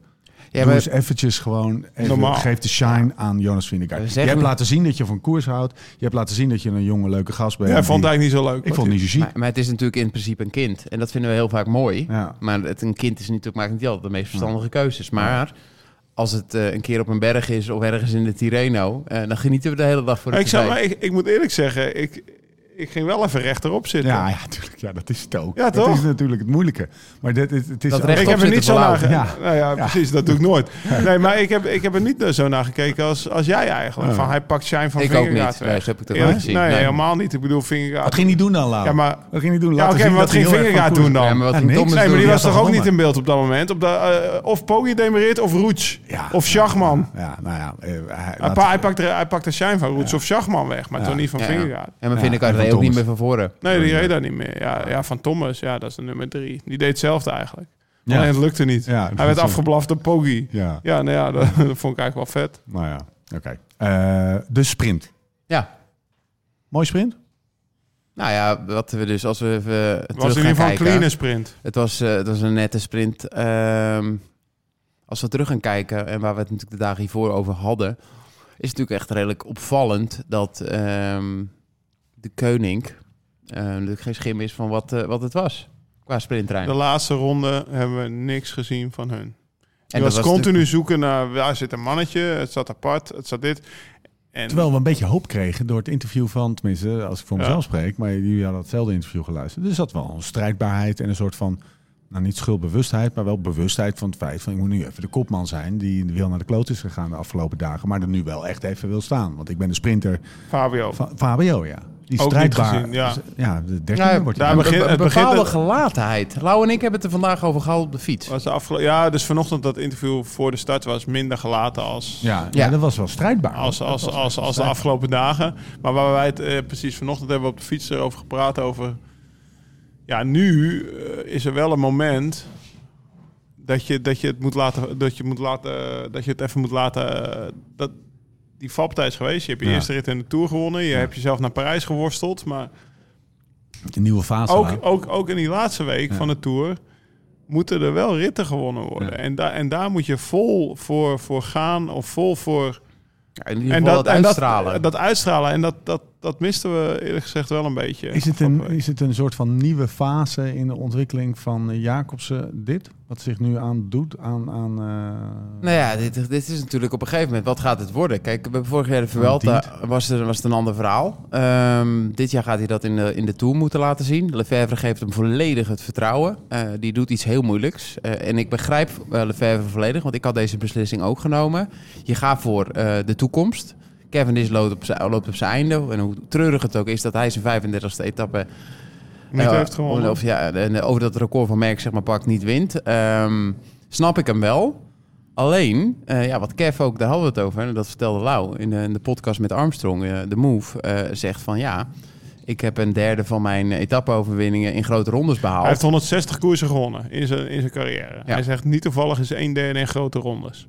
S3: Ja,
S1: doe
S3: maar-
S1: eens eventjes gewoon, even,
S4: Normaal.
S1: geef de shine aan Jonas
S3: We
S1: Vingegaard. Je
S3: zeggen-
S1: hebt laten zien dat je van koers houdt. Je hebt laten zien dat je een jonge, leuke gast bent.
S4: Ja, ik vond het
S1: Die-
S4: eigenlijk niet zo leuk.
S1: ik vond het niet zo ziek.
S3: Maar, maar het is natuurlijk in principe een kind. En dat vinden we heel vaak mooi.
S1: Ja.
S3: Maar het, een kind is natuurlijk, maakt niet altijd de meest verstandige keuzes. Maar als het eh, een keer op een berg is of ergens in de Tirreno... eh, dan genieten we de hele dag voor de
S4: ik, zou, maar
S3: tijd.
S4: ik, ik moet eerlijk zeggen, ik, ik ging wel even rechterop zitten.
S1: Ja, ja, tuurlijk, ja, dat is het ook.
S4: Ja,
S1: dat
S4: toch?
S1: is natuurlijk het moeilijke. Maar dit, het, het is
S3: Dat
S1: ook-
S3: recht-
S4: ik heb er
S3: zitten
S4: niet zo naar
S3: blauwen.
S4: gekeken.
S1: Ja.
S4: Ja. Nou ja, precies, dat doe ik nooit. Nee, maar ik heb, ik heb er niet eh, zo naar gekeken als, als jij eigenlijk. Van hij pakt shine van
S3: Ik ook
S4: Vingegaard
S3: niet.
S4: weg.
S3: Nee, zo heb ik het ook
S4: Eerlijk-
S3: niet gezien.
S4: Nee,
S3: Nee.
S4: helemaal niet. Ik bedoel, Vingegaard...
S1: Wat ging hij doen dan, Lau?
S4: Ja, maar...
S1: Wat ging hij doen?
S4: Ja,
S1: Laten
S4: oké,
S1: zien
S4: maar
S1: dat
S4: wat
S1: hij
S4: ging
S1: heel erg
S4: Vingegaard
S1: van koers-
S4: doen dan?
S3: Ja, maar wat
S1: Ja,
S3: ging
S1: niks.
S3: Thomas
S4: Nee, maar
S3: doen?
S4: die
S1: Ja,
S4: was toch
S1: toch
S4: ook niet
S1: gewonnen.
S4: in beeld op dat moment? Op de, eh, of Poggi demereert of Roets.
S1: Ja.
S4: Of Schachman.
S1: Ja, nou ja. eh, hij,
S4: Hij,
S1: laat-
S4: pa- hij pakt er- hij pakt de shine van Roets of Schachman weg, maar toch niet van
S3: Ja.
S4: Vingegaard.
S3: En mijn
S1: Ja,
S3: vind ik
S1: en van
S3: ook niet
S1: Thomas.
S3: meer van voren.
S4: Nee, die reed daar niet meer. Ja, ja, van Thomas, ja, dat is de nummer drie. Die deed hetzelfde eigenlijk.
S1: Ja.
S4: Alleen het lukte niet.
S1: Ja,
S4: Hij werd
S1: precies.
S4: afgeblaft door Poggi.
S1: Ja.
S4: Ja, nou ja, dat, (laughs) dat vond ik eigenlijk wel vet.
S1: Nou ja, oké. Eh, de sprint.
S3: Ja.
S1: Mooi sprint?
S3: Nou ja, wat we dus als we even
S4: Het
S3: terug
S4: was in
S3: gaan
S4: ieder geval een
S3: kijken.
S4: clean sprint.
S3: Het was, eh, het was een nette sprint. Ehm, als we terug gaan kijken en waar we het natuurlijk de dagen hiervoor over hadden, is het natuurlijk echt redelijk opvallend dat ehm, de koning eh, natuurlijk geen schim is van wat, eh, wat het was qua sprinttrein.
S4: De laatste ronde hebben we niks gezien van hun.
S3: dat
S4: En was,
S3: was
S4: continu
S3: natuurlijk-
S4: zoeken naar waar zit een mannetje, het zat apart, het zat dit. En
S1: Terwijl we een beetje hoop kregen door het interview van, tenminste, als ik voor
S4: Ja.
S1: mezelf spreek, maar jullie hadden hetzelfde interview geluisterd. Dus dat wel een strijdbaarheid en een soort van, nou niet schuldbewustheid, maar wel bewustheid van het feit van ik moet nu even de kopman zijn die wil naar de kloot is gegaan de afgelopen dagen, maar er nu wel echt even wil staan. Want ik ben de sprinter
S4: Fabio.
S1: van Fabio, ja. Die
S4: Ook niet
S1: strijdbaar.
S4: gezien, ja.
S1: ja, de dertiende
S3: Ja,
S1: wordt
S4: daar
S1: hij.
S3: een
S4: begint-
S3: be-
S4: het begint
S3: bepaalde
S4: dat-
S3: gelatenheid. Lau en ik hebben het er vandaag over gehad op de fiets.
S4: Was de afgelo- ja, dus vanochtend dat interview voor de start was minder gelaten als...
S1: Ja,
S3: Ja.
S1: ja, dat was wel strijdbaar.
S4: Als,
S1: Dat
S4: als,
S1: was
S4: als,
S1: wel
S4: als de
S1: strijdbaar.
S4: afgelopen dagen. Maar waar wij het eh, precies vanochtend hebben we op de fiets erover gepraat. Over. Ja, nu eh, is er wel een moment. Dat je, dat je het moet laten. Dat je, moet laten, dat je het even moet laten. eh, dat, die valpartij is geweest. Je hebt je
S1: Ja.
S4: eerste rit in de Tour gewonnen. Je hebt jezelf naar Parijs geworsteld. Maar
S1: De nieuwe fase.
S4: ook,
S1: Lau.
S4: ook, ook in die laatste week van de Tour moeten er wel ritten gewonnen worden.
S1: Ja.
S4: En, daar en daar moet je vol voor, voor gaan of vol voor
S3: Ja, in ieder geval het uitstralen.
S4: Dat, dat uitstralen. En dat, dat, dat misten we eerlijk gezegd wel een beetje.
S1: Is het, een, is het een soort van nieuwe fase in de ontwikkeling van eh, Jacobsen, dit? Wat zich nu aan doet aan... aan eh,
S3: Nou ja, dit, dit is natuurlijk op een gegeven moment, wat gaat het worden? Kijk, bij vorig jaar de Vuelta was, er, was het een ander verhaal. Ehm, dit jaar gaat hij dat in de, in de Tour moeten laten zien. Lefebvre geeft hem volledig het vertrouwen. Eh, die doet iets heel moeilijks. Eh, en ik begrijp eh, Lefebvre volledig, want ik had deze beslissing ook genomen. Je gaat voor eh, de toekomst. Kevin is loopt op, zijn- loopt op zijn einde. En hoe treurig het ook is dat hij zijn 35e etappe
S4: Niet
S3: ja,
S4: heeft gewonnen.
S3: Of ja, en over dat record van Merck zeg maar pakt niet wint. Ehm, snap ik hem wel. Alleen, eh, ja, wat Kev ook, daar hadden we het over. En dat vertelde Lau in de, in de podcast met Armstrong, eh, de Move. eh, zegt van ja, ik heb een derde van mijn etappeoverwinningen in grote rondes
S4: Hij
S3: behaald.
S4: heeft 160 koersen gewonnen in zijn, in zijn carrière. Hij zegt niet toevallig is een derde in grote rondes.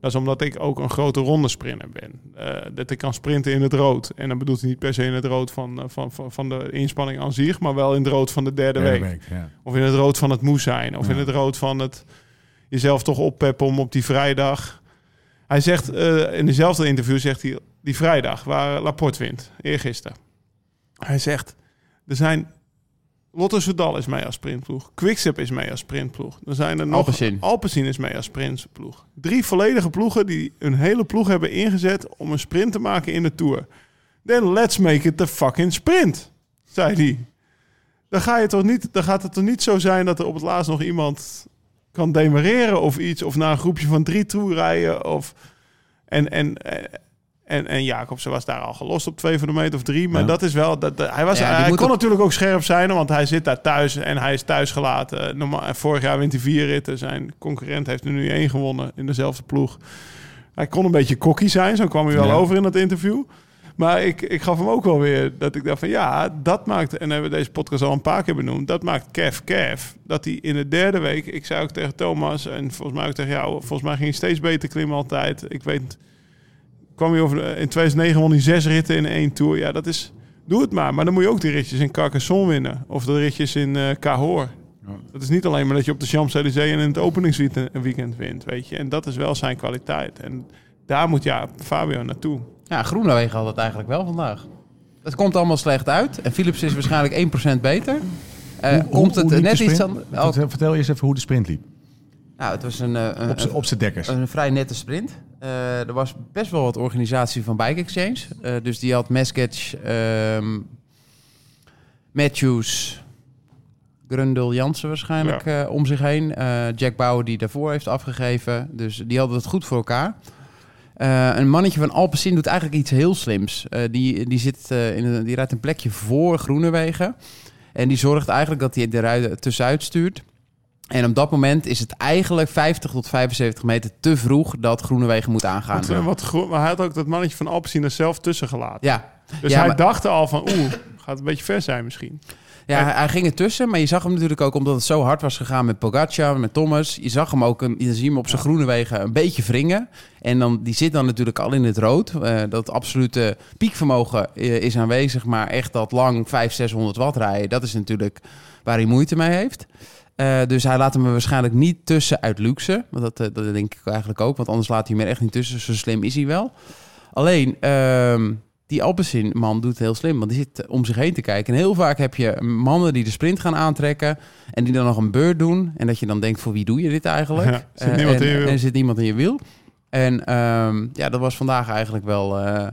S4: Dat is omdat ik ook een grote rondesprinter ben. Eh, dat ik kan sprinten in het rood. En dan bedoelt hij niet per se in het rood van, eh, van, van, van de inspanning aan zich, maar wel in het rood van de derde,
S1: derde
S4: week.
S1: week, ja.
S4: Of in het rood van het moe zijn. Of in het rood van het jezelf toch oppeppen om op die vrijdag. Hij zegt eh, in dezelfde interview zegt hij die vrijdag waar Laporte wint, eergisteren. Hij zegt er zijn Lotto Soudal is mee als sprintploeg. Quickstep is mee als sprintploeg. Dan zijn er nog...
S3: Alpecin.
S4: Alpecin is mee als sprintploeg. Drie volledige ploegen die een hele ploeg hebben ingezet om een sprint te maken in de Tour. Then let's make it the fucking sprint, zei hij. Dan, ga je toch niet, dan gaat het toch niet zo zijn dat er op het laatst nog iemand kan demareren of iets. Of naar een groepje van drie toe rijden. Of, en, en, en, en, en Jacobsen was daar al gelost op twee van de meter of drie. Maar
S3: Ja.
S4: dat is wel... Dat, dat- hij was,
S3: Ja, die
S4: hij
S3: moet
S4: kon
S3: op-
S4: natuurlijk ook scherp zijn, want hij zit daar thuis en hij is thuisgelaten. Normaal, en vorig jaar wint hij vier ritten. Zijn concurrent heeft er nu één gewonnen in dezelfde ploeg. Hij kon een beetje kokkie zijn, zo kwam hij wel
S3: Ja.
S4: over in dat interview. Maar ik, ik gaf hem ook wel weer dat ik dacht van ja, dat maakt, en hebben we deze podcast al een paar keer benoemd, dat maakt Kev Kev. Dat hij in de derde week, ik zei ook tegen Thomas en volgens mij ook tegen jou, volgens mij ging hij steeds beter klimmen altijd. Ik weet, kwam hij over, de- in 2009 won hij zes ritten in één tour. Ja, dat is, doe het maar. Maar dan moet je ook die ritjes in Carcassonne winnen. Of de ritjes in eh Cahors. Dat is niet alleen maar dat je op de Champs-Élysées en in het openingsweekend wint, weet je. En dat is wel zijn kwaliteit. En daar moet ja, Fabio naartoe.
S3: Ja, Groenewegen had het eigenlijk wel vandaag. Het komt allemaal slecht uit. En Philips is waarschijnlijk 1% beter. Eh,
S1: Hoe- hoe-
S3: komt het
S1: hoe liep
S3: net
S1: de
S3: iets
S1: sprint?
S3: aan... oh,
S1: Vertel- Vertel eerst even hoe de sprint liep.
S3: nou, het was een, eh, een,
S1: Op z'n- Op zijn dekkers.
S3: een vrij nette sprint. Eh, er was best wel wat organisatie van Bike Exchange. Eh, dus die had Mesketch, ehm, Matthews, Grundel Jansen waarschijnlijk eh, om zich heen. Eh, Jack Bauer die daarvoor heeft afgegeven. Dus die hadden het goed voor elkaar. Eh, een mannetje van Alpecin doet eigenlijk iets heel slims. Eh, die, die, zit, eh, in een, die rijdt een plekje voor Groenewegen. En die zorgt eigenlijk dat hij de ruiten tussenuit stuurt. En op dat moment is het eigenlijk 50 tot 75 meter te vroeg dat Groenewegen moet aangaan.
S4: Want, eh, wat gro- maar hij had ook dat mannetje van Alpecin er zelf tussen gelaten.
S3: Ja,
S4: Dus
S3: Ja,
S4: hij
S3: maar-
S4: dacht al van, oeh, gaat een beetje ver zijn misschien.
S3: ja hij, hij ging ertussen, maar je zag hem natuurlijk ook omdat het zo hard was gegaan met Pogacar, met Thomas. Je zag hem ook, een, je ziet hem op zijn Groenewegen een beetje wringen. En dan, die zit dan natuurlijk al in het rood. Eh, dat absolute piekvermogen eh, is aanwezig, maar echt dat lang 500, 600 watt rijden, dat is natuurlijk waar hij moeite mee heeft. Eh, dus hij laat hem er waarschijnlijk niet tussen uit luxe. Want dat, eh, dat denk ik eigenlijk ook. Want anders laat hij hem er echt niet tussen. Zo slim is hij wel. Alleen, ehm, die Alpecin-man doet het heel slim. Want die zit eh, om zich heen te kijken. En heel vaak heb je mannen die de sprint gaan aantrekken. En die dan nog een beurt doen. En dat je dan denkt, voor wie doe je dit eigenlijk?
S4: (laughs) Ja, zit
S3: Eh,
S4: niemand
S3: en,
S4: in je wiel.
S3: en er zit niemand in je wiel. En ehm, ja, dat was vandaag eigenlijk wel... eh,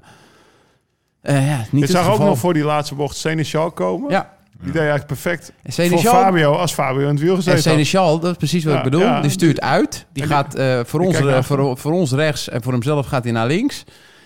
S3: eh, ja, niet
S4: Je
S3: het
S4: zag ook
S3: geval.
S4: nog voor die laatste bocht Seneschal komen.
S3: Ja,
S4: Die deed eigenlijk perfect voor
S3: Seneschal-
S4: Fabio, als Fabio in het wiel
S3: En
S4: gezeten had.
S3: Seneschal, dat is precies wat
S4: Ja,
S3: ik bedoel.
S4: ja.
S3: Die stuurt uit. Die
S4: En die-
S3: gaat eh, voor,
S4: die
S3: ons,
S4: kijkt naar
S3: eh, voor, voor ons rechts en voor hemzelf gaat hij naar links.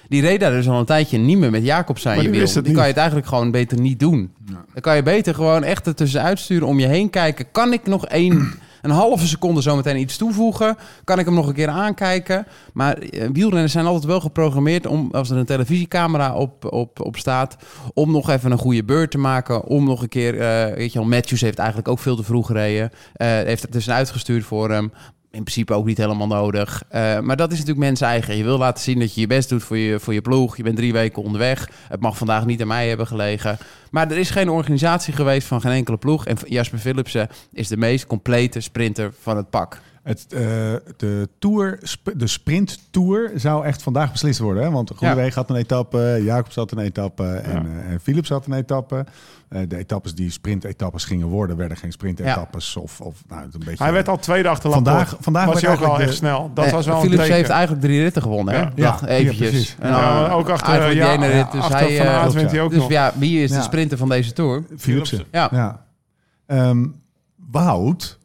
S3: Die reed daar dus al een tijdje niet meer met Jacobs aan
S4: Maar
S3: je
S4: die
S3: wiel.
S4: wist
S3: Die
S4: het
S3: kan je
S4: niet.
S3: het eigenlijk gewoon beter niet doen. Dan kan je beter gewoon echt er tussenuit sturen, om je heen kijken. Kan ik nog één, (clears throat) een halve seconde zometeen iets toevoegen? Kan ik hem nog een keer aankijken? Maar eh, wielrenners zijn altijd wel geprogrammeerd om, als er een televisiecamera op, op, op staat, om nog even een goede beurt te maken. Om nog een keer, eh, weet je wel, Matthews heeft eigenlijk ook veel te vroeg gereden. Eh, heeft er tussenuit gestuurd voor hem. In principe ook niet helemaal nodig. Eh, maar dat is natuurlijk mensen eigen. Je wil laten zien dat je je best doet voor je, voor je ploeg. Je bent drie weken onderweg. Het mag vandaag niet aan mij hebben gelegen. Maar er is geen organisatie geweest van geen enkele ploeg. En Jasper Philipsen is de meest complete sprinter van het pak.
S1: Het, eh, de, tour, sp- de sprint tour zou echt vandaag beslist worden. Hè? Want Groenewegen had een etappe, Jacobs had een etappe en, eh, en Philips had een etappe. Eh, de etappes die sprintetappes gingen worden, werden geen sprintetappes. Of, of, nou, een beetje,
S4: Hij werd al tweede achter Laporte.
S1: Vandaag- vandaag
S4: was
S1: werd
S4: hij ook al
S1: eigenlijk
S4: echt
S1: de-
S4: snel. Dat
S3: Nee,
S4: was wel een
S3: Philips
S4: teken.
S3: Eh, heeft eigenlijk drie ritten gewonnen. Hè?
S4: Ja.
S3: Dacht
S1: Ja,
S3: eventjes.
S1: precies.
S3: En dan,
S4: Ja,
S3: eh,
S4: ook achter,
S3: Aert wordt
S4: ja,
S3: die ene rit, dus
S4: achter
S3: hij,
S4: Van
S3: eh,
S4: Aert wint hij ook
S3: Dus
S4: nog.
S3: ja, wie is
S1: Ja.
S3: de sprinter van deze Tour?
S1: Philipsen.
S3: Ja,
S1: Ja. Ehm, Wout,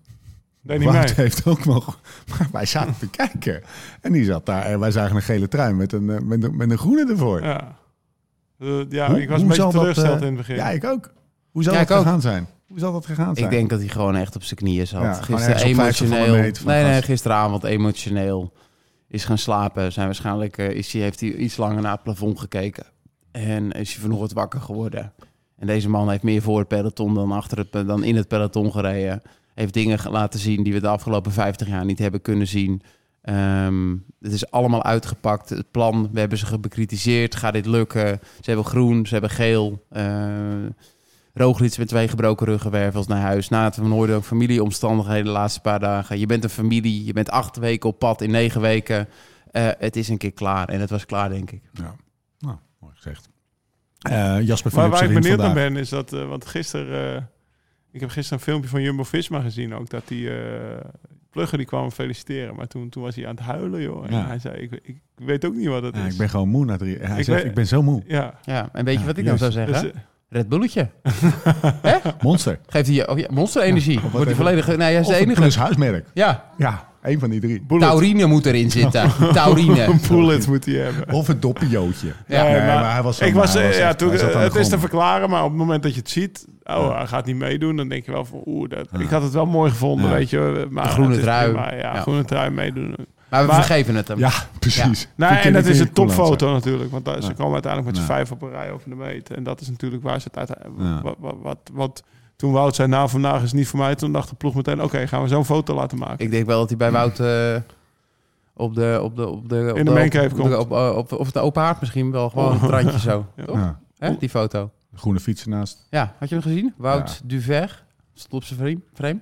S4: Deed niet
S1: Wout
S4: mee.
S1: heeft ook wel... Maar wij zaten te kijken. En die zat daar en wij zagen een gele trui met een, eh, met een, met een groene ervoor.
S4: Ja, Eh, ja
S1: Hoe-
S4: ik
S1: hoe
S4: was een beetje
S1: zal dat,
S4: teleurgesteld
S1: eh,
S4: in het begin.
S1: Ja, ik ook. Hoe zal
S3: Ja,
S1: dat
S3: ik ook.
S1: gegaan zijn? Hoe zal dat gegaan zijn?
S3: ik denk dat hij gewoon echt op zijn knieën zat.
S1: Ja, gewoon
S3: gisteren
S1: ergens op vijftig van de
S3: emotioneel.
S1: meet van
S3: nee, nee,
S1: gast.
S3: gisteravond emotioneel. Is gaan slapen. Zijn waarschijnlijk, eh, is hij, heeft hij iets langer naar het plafond gekeken. En is hij vanochtend wakker geworden. En deze man heeft meer voor het peloton dan, achter het, pe- dan in het peloton gereden. Heeft dingen ge- laten zien die we de afgelopen 50 jaar niet hebben kunnen zien. Ehm, het is allemaal uitgepakt. Het plan, we hebben ze bekritiseerd. Gaat dit lukken? Ze hebben groen, ze hebben geel. Eh Roglic met twee gebroken ruggenwervels naar huis. Na het van hoorde ook familieomstandigheden de laatste paar dagen. Je bent een familie, je bent acht weken op pad in negen weken. Eh, het is een keer klaar en het was klaar, denk ik.
S1: Ja, nou, mooi gezegd. Eh, Jasper
S4: Maar
S1: Philipsen
S4: waar
S1: wint
S4: ik benieuwd naar
S1: vandaag.
S4: ben is dat, eh, want gisteren, eh, Ik heb gisteren een filmpje van Jumbo-Visma gezien ook. Dat die eh, plugger die kwam hem feliciteren. Maar toen, toen was hij aan het huilen, joh. En
S1: Ja.
S4: hij zei, ik, ik weet ook niet wat dat
S1: Ja,
S4: is.
S1: ik ben gewoon moe na drie. Hij
S4: Ik
S1: zegt,
S4: ben-
S1: ik ben zo moe.
S4: Ja,
S3: Ja, en weet je
S1: Ja,
S3: wat ik dan zou
S1: juist.
S3: zeggen?
S4: dus, eh,
S3: Red Bulletje.
S1: Monster.
S3: Geeft hij je oh ja, monsterenergie. Wordt hij
S1: even.
S3: volledig... Nee, hij is
S1: Of
S3: de
S1: een
S3: enige.
S1: plus huismerk.
S3: Ja,
S1: Ja, één van die drie.
S4: bullet.
S3: taurine moet erin zitten. Taurine.
S4: Een bullet moet hij hebben.
S1: Of een doppiootje.
S3: Ja,
S1: nee,
S4: Nee,
S1: maar, hij was zo
S4: ik
S1: moe.
S4: was,
S1: Hij
S4: eh, ja,
S1: echt-
S4: toen,
S1: hij zat aan de
S4: het is
S1: grond.
S4: te verklaren, maar op het moment dat je het ziet, oh, hij gaat niet meedoen, dan denk je wel van, oeh, dat, ik had het wel mooi gevonden,
S1: Ja.
S4: weet je. Maar
S3: De groene
S4: het is
S3: trui.
S4: prima, ja,
S3: Ja.
S4: groene trui meedoen.
S3: Maar we
S4: Maar-
S3: vergeven het hem.
S1: Ja, precies.
S4: Nou,
S1: Toen
S4: en dat
S1: keek
S4: is
S1: ik
S4: een
S1: in Koeland,
S4: topfoto natuurlijk, want daar, ze
S1: Ja.
S4: komen uiteindelijk met z'n
S1: Ja.
S4: vijf op een rij over de meet. En dat is natuurlijk waar ze het uit...
S1: Ja.
S4: Wat, wat, wat, wat- toen Wout zei, nou, vandaag is het niet voor mij, toen dacht de ploeg meteen, oké, gaan we zo'n foto laten maken.
S3: Ik denk wel dat hij bij Wout eh, op de... Op de, op de op
S4: In de mancave
S3: op- op-
S4: komt.
S3: Op, eh, op, op, of de open haard misschien wel. Gewoon een randje zo.
S4: Ja.
S3: Toch?
S1: Ja.
S3: Hè, die foto.
S1: Groene fiets ernaast,
S3: Ja, had je hem gezien? Wout Duver. Stond op zijn frame. frame.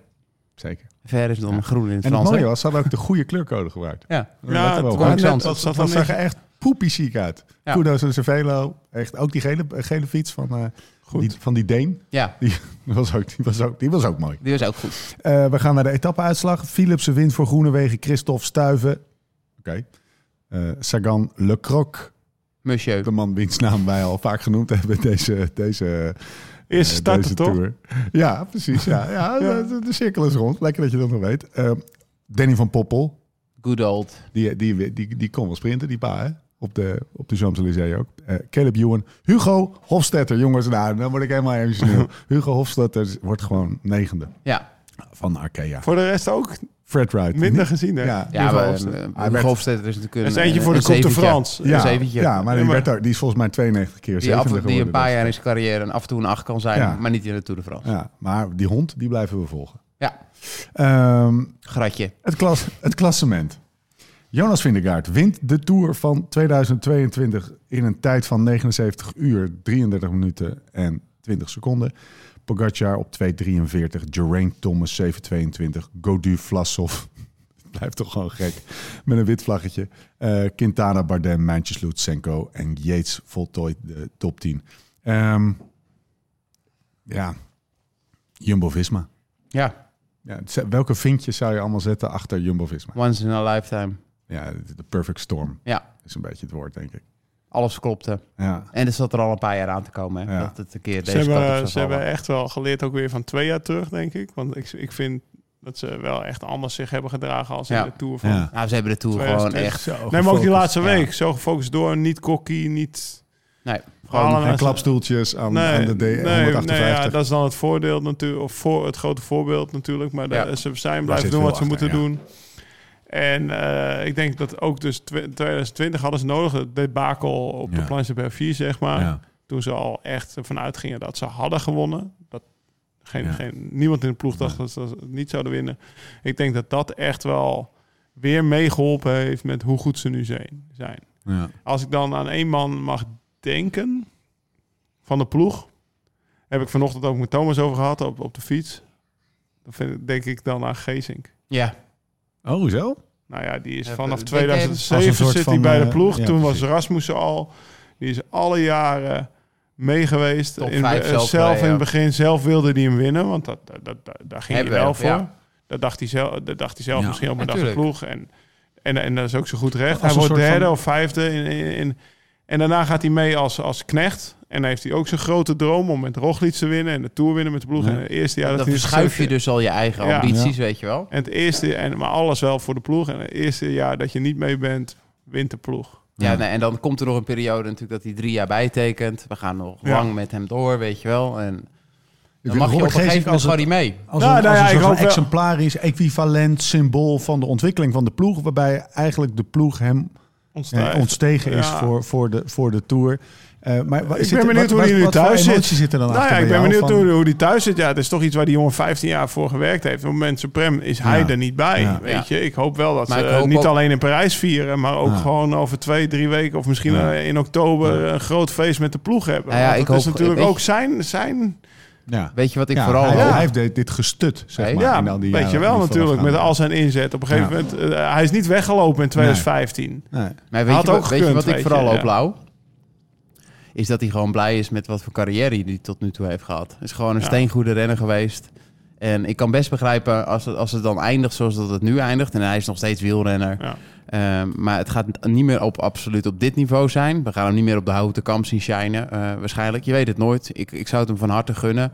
S1: zeker.
S3: Ver is dan
S1: Ja.
S3: groen in
S1: En
S3: het
S1: het
S3: Frans.
S1: mooie
S3: hè?
S1: was, ze hadden ook de goede kleurcode gebruikt.
S3: Ja.
S4: Ja,
S1: Let er wel
S4: het
S1: op.
S3: was
S1: Dat-
S3: net-
S1: dat-
S4: dat zat
S1: Dat
S4: dan
S1: zag er echt poepie ziek uit.
S3: Ja.
S1: Kudos en Cervelo. Echt ook die gele, gele fiets van, eh, die, van die Deen.
S3: ja,
S1: Die was ook, die was ook, die was ook mooi.
S3: die was ook goed.
S1: Eh, we gaan naar de etappeuitslag. Philipsen wint voor Groenewegen, Christophe Stuiven. Oké. Eh, Sagan Le Croc,
S3: Monsieur.
S1: de man wiens naam wij al vaak genoemd hebben deze, deze,
S4: Eerst
S1: eh,
S4: starten,
S1: deze
S4: toch?
S1: tour. Ja, precies. Ja, ja, De, de cirkel is rond. Lekker dat je dat nog weet. Eh, Danny van Poppel,
S3: Good old.
S1: die, die, die, die, die kon wel sprinten, die pa, hè? Op de, op de Champs-Élysées ook. Eh, Caleb Ewan. Hugo Hofstetter, jongens. Nou, dan word ik helemaal emotioneel. Hugo Hofstetter wordt gewoon negende
S3: Ja.
S1: van Arkea.
S4: Voor de rest ook
S1: Fred Wright.
S4: minder gezien, hè?
S1: Ja,
S3: Ja, maar
S4: Hofstede.
S3: eh,
S1: Hij werd-
S3: Hofstede is natuurlijk een...
S4: Er is eentje
S3: een-
S4: voor de
S3: een
S4: Coupe de
S3: zeventje.
S4: France.
S3: een zeventje.
S1: ja, maar, die,
S4: Ja, maar- dus.
S1: werd ook- die is volgens mij 92 keer
S3: Die, af,
S1: zevende
S3: die een
S1: geworden.
S3: paar jaar in zijn carrière een af en toe een acht kan zijn,
S1: Ja.
S3: maar niet in de Tour de France.
S1: Ja, maar die hond, die blijven we volgen.
S3: Ja.
S1: Ehm,
S3: Gratje.
S1: het, klas, het klassement. Jonas Vindegaard wint de Tour van 2022 in een tijd van 79 uur, 33 minuten en 20 seconden. Pogacar op 2.43, Geraint Thomas 7.22, Godu Vlasov, (laughs) blijft toch gewoon gek, met een wit vlaggetje. Eh, Quintana, Bardem, Mijntjes, Lutsenko en Yates voltooid de top 10. Ehm, ja, Jumbo-Visma.
S3: Ja,
S1: Ja, z- welke vinkjes zou je allemaal zetten achter Jumbo-Visma?
S3: once in a lifetime.
S1: Ja, de perfect storm
S3: Ja,
S1: is een beetje het woord, denk ik.
S3: alles klopte.
S1: Ja,
S3: En er zat er al een paar jaar aan te komen, hè,
S1: Ja.
S3: dat het een keer
S4: Ze
S3: deze kant op
S4: hebben, ze
S3: zou
S4: hebben
S3: vallen.
S4: echt wel geleerd ook weer van twee jaar terug, denk ik. Want ik, ik vind dat ze wel echt anders zich hebben gedragen als
S3: Ja.
S4: in de Tour van...
S1: ja.
S3: Nou, ze hebben de Tour gewoon
S4: 2020.
S3: echt...
S4: Nee, maar ook die laatste
S3: ja.
S4: week. Zo gefocust door, niet kokkie, niet...
S3: Nee,
S4: Verhalen
S1: En
S4: aan-
S1: klapstoeltjes aan, aan de D
S4: nee,
S1: 158.
S4: nee, ja, dat is dan het voordeel natuurlijk, of voor het grote voorbeeld natuurlijk. Maar de-
S3: Ja.
S4: ze zijn blijven
S1: zit
S4: doen
S1: veel
S4: wat ze
S1: achter,
S4: moeten
S1: ja.
S4: doen. En eh, ik denk dat ook dus tw- 2020 hadden ze nodig, het debakel op
S1: Ja.
S4: de planche per 4, zeg maar.
S1: Ja.
S4: Toen ze al echt ervan uitgingen dat ze hadden gewonnen. Dat geen,
S1: Ja.
S4: geen, niemand in de ploeg dacht dat ze dat niet zouden winnen. Ik denk dat dat echt wel weer meegeholpen heeft met hoe goed ze nu zijn. zijn.
S1: Ja.
S4: Als ik dan aan één man mag denken van de ploeg, heb ik vanochtend ook met Thomas over gehad op, op de fiets. Dan vind ik- denk ik dan aan Geesink.
S3: ja.
S1: Oh, zo?
S4: Nou ja, die is
S3: Ja,
S4: vanaf
S3: denk jij dat-
S1: Als een
S4: 2007
S1: soort
S4: zit hij
S1: van,
S4: bij de
S1: eh,
S4: ploeg.
S1: ja,
S4: Toen was
S1: precies.
S4: Rasmussen al. Die is alle jaren mee geweest.
S3: Top
S4: In-
S3: vijf
S4: eh,
S3: zelf
S4: zelf
S3: bij,
S4: in
S3: ja.
S4: het begin zelf wilde hij hem winnen. Want dat, dat, dat, dat- daar ging
S3: Hebben
S4: hij wel
S3: we,
S4: voor.
S3: ja.
S4: Dat dacht hij zelf, dat dacht hij zelf
S1: Ja.
S4: misschien op een dag de
S3: Natuurlijk.
S4: ploeg. En, en, en dat is ook zo goed recht.
S1: Als
S4: Hij
S1: een
S4: wordt
S1: soort van-
S4: derde of vijfde. In, in, in- en daarna gaat hij mee als, als knecht. En dan heeft hij ook zijn grote droom om met Roglic te winnen. En de Tour winnen met de ploeg.
S1: Ja.
S4: En het eerste jaar dat
S3: Dan
S4: hij
S3: verschuif je
S4: zichzelf-
S3: dus al je eigen
S4: Ja.
S3: ambities, weet je
S1: dus.
S3: wel.
S4: en het eerste, en, maar alles wel voor de ploeg. En het eerste jaar dat je niet mee bent, wint de ploeg.
S3: Ja,
S1: Ja.
S3: nee, en dan komt er nog een periode natuurlijk dat hij drie jaar bijtekent. We gaan nog
S4: Ja.
S3: lang met hem door, weet je wel. En dan
S1: vind
S3: mag je op
S1: Robert
S3: een gegeven
S1: Geesink
S3: moment
S1: als
S3: gewoon niet mee.
S1: Als
S4: Nou,
S1: een,
S4: nou
S1: als
S4: ja,
S1: een
S4: ik
S1: soort
S4: hoop
S1: van
S4: wel-
S1: exemplarisch, equivalent symbool van de ontwikkeling van de ploeg. Waarbij eigenlijk de ploeg hem eh,
S4: Ontstijgt.
S1: ontstegen is
S4: Ja.
S1: voor, voor, de, voor de Tour. Eh, maar, wa-
S4: Ik
S1: zit er-
S4: ben benieuwd
S1: wat-
S4: hoe hij
S1: wat-
S4: nu
S1: wat voor
S4: thuis zit.
S1: emoties zitten dan
S4: Nou
S1: achter
S4: ja, ik
S1: bij
S4: ben
S1: jou
S4: benieuwd
S1: van-
S4: hoe, hoe die thuis zit. Ja, het is toch iets waar die jongen 15 jaar voor gewerkt heeft. Op het moment Supreme is hij
S1: Ja.
S4: er niet bij.
S1: Ja.
S4: Weet je, ik hoop wel dat
S3: Maar
S4: ze
S3: ik
S4: eh,
S3: hoop
S4: niet
S3: ook-
S4: alleen in Parijs vieren, maar ook
S1: Ja.
S4: gewoon over twee, drie weken of misschien
S1: Ja.
S4: eh, in oktober een groot feest met de ploeg hebben.
S3: Nou ja,
S4: Want
S3: ik
S4: dat is
S3: hoop-
S4: natuurlijk
S3: weet
S4: ook
S3: je-
S4: zijn, zijn
S1: Ja.
S3: Weet je wat ik
S1: Ja,
S3: vooral...
S1: hij,
S3: hoop?
S1: hij heeft dit- dit gestut, zeg
S3: Nee.
S1: maar.
S4: ja,
S1: in al die
S4: weet je
S1: jaren
S4: wel
S1: die
S4: natuurlijk, met al
S1: voorafgaande.
S4: zijn inzet. Op een gegeven
S1: Ja.
S4: moment, eh, hij is niet weggelopen in 2015.
S1: Nee.
S3: Maar weet,
S4: Had
S3: je, wat-
S4: ook
S3: weet je
S4: gekund,
S3: wat ik
S4: weet
S3: vooral
S4: je,
S3: hoop,
S4: ja.
S3: Lau? Is dat hij gewoon blij is met wat voor carrière hij tot nu toe heeft gehad. Hij is gewoon een
S4: Ja.
S3: steengoede renner geweest. En ik kan best begrijpen als het, als het dan eindigt zoals dat het nu eindigt. En hij is nog steeds wielrenner.
S4: Ja.
S3: Ehm, maar het gaat niet meer op, absoluut op dit niveau zijn. We gaan hem niet meer op de houten kamp zien shinen. eh, waarschijnlijk. Je weet het nooit. Ik, ik zou het hem van harte gunnen.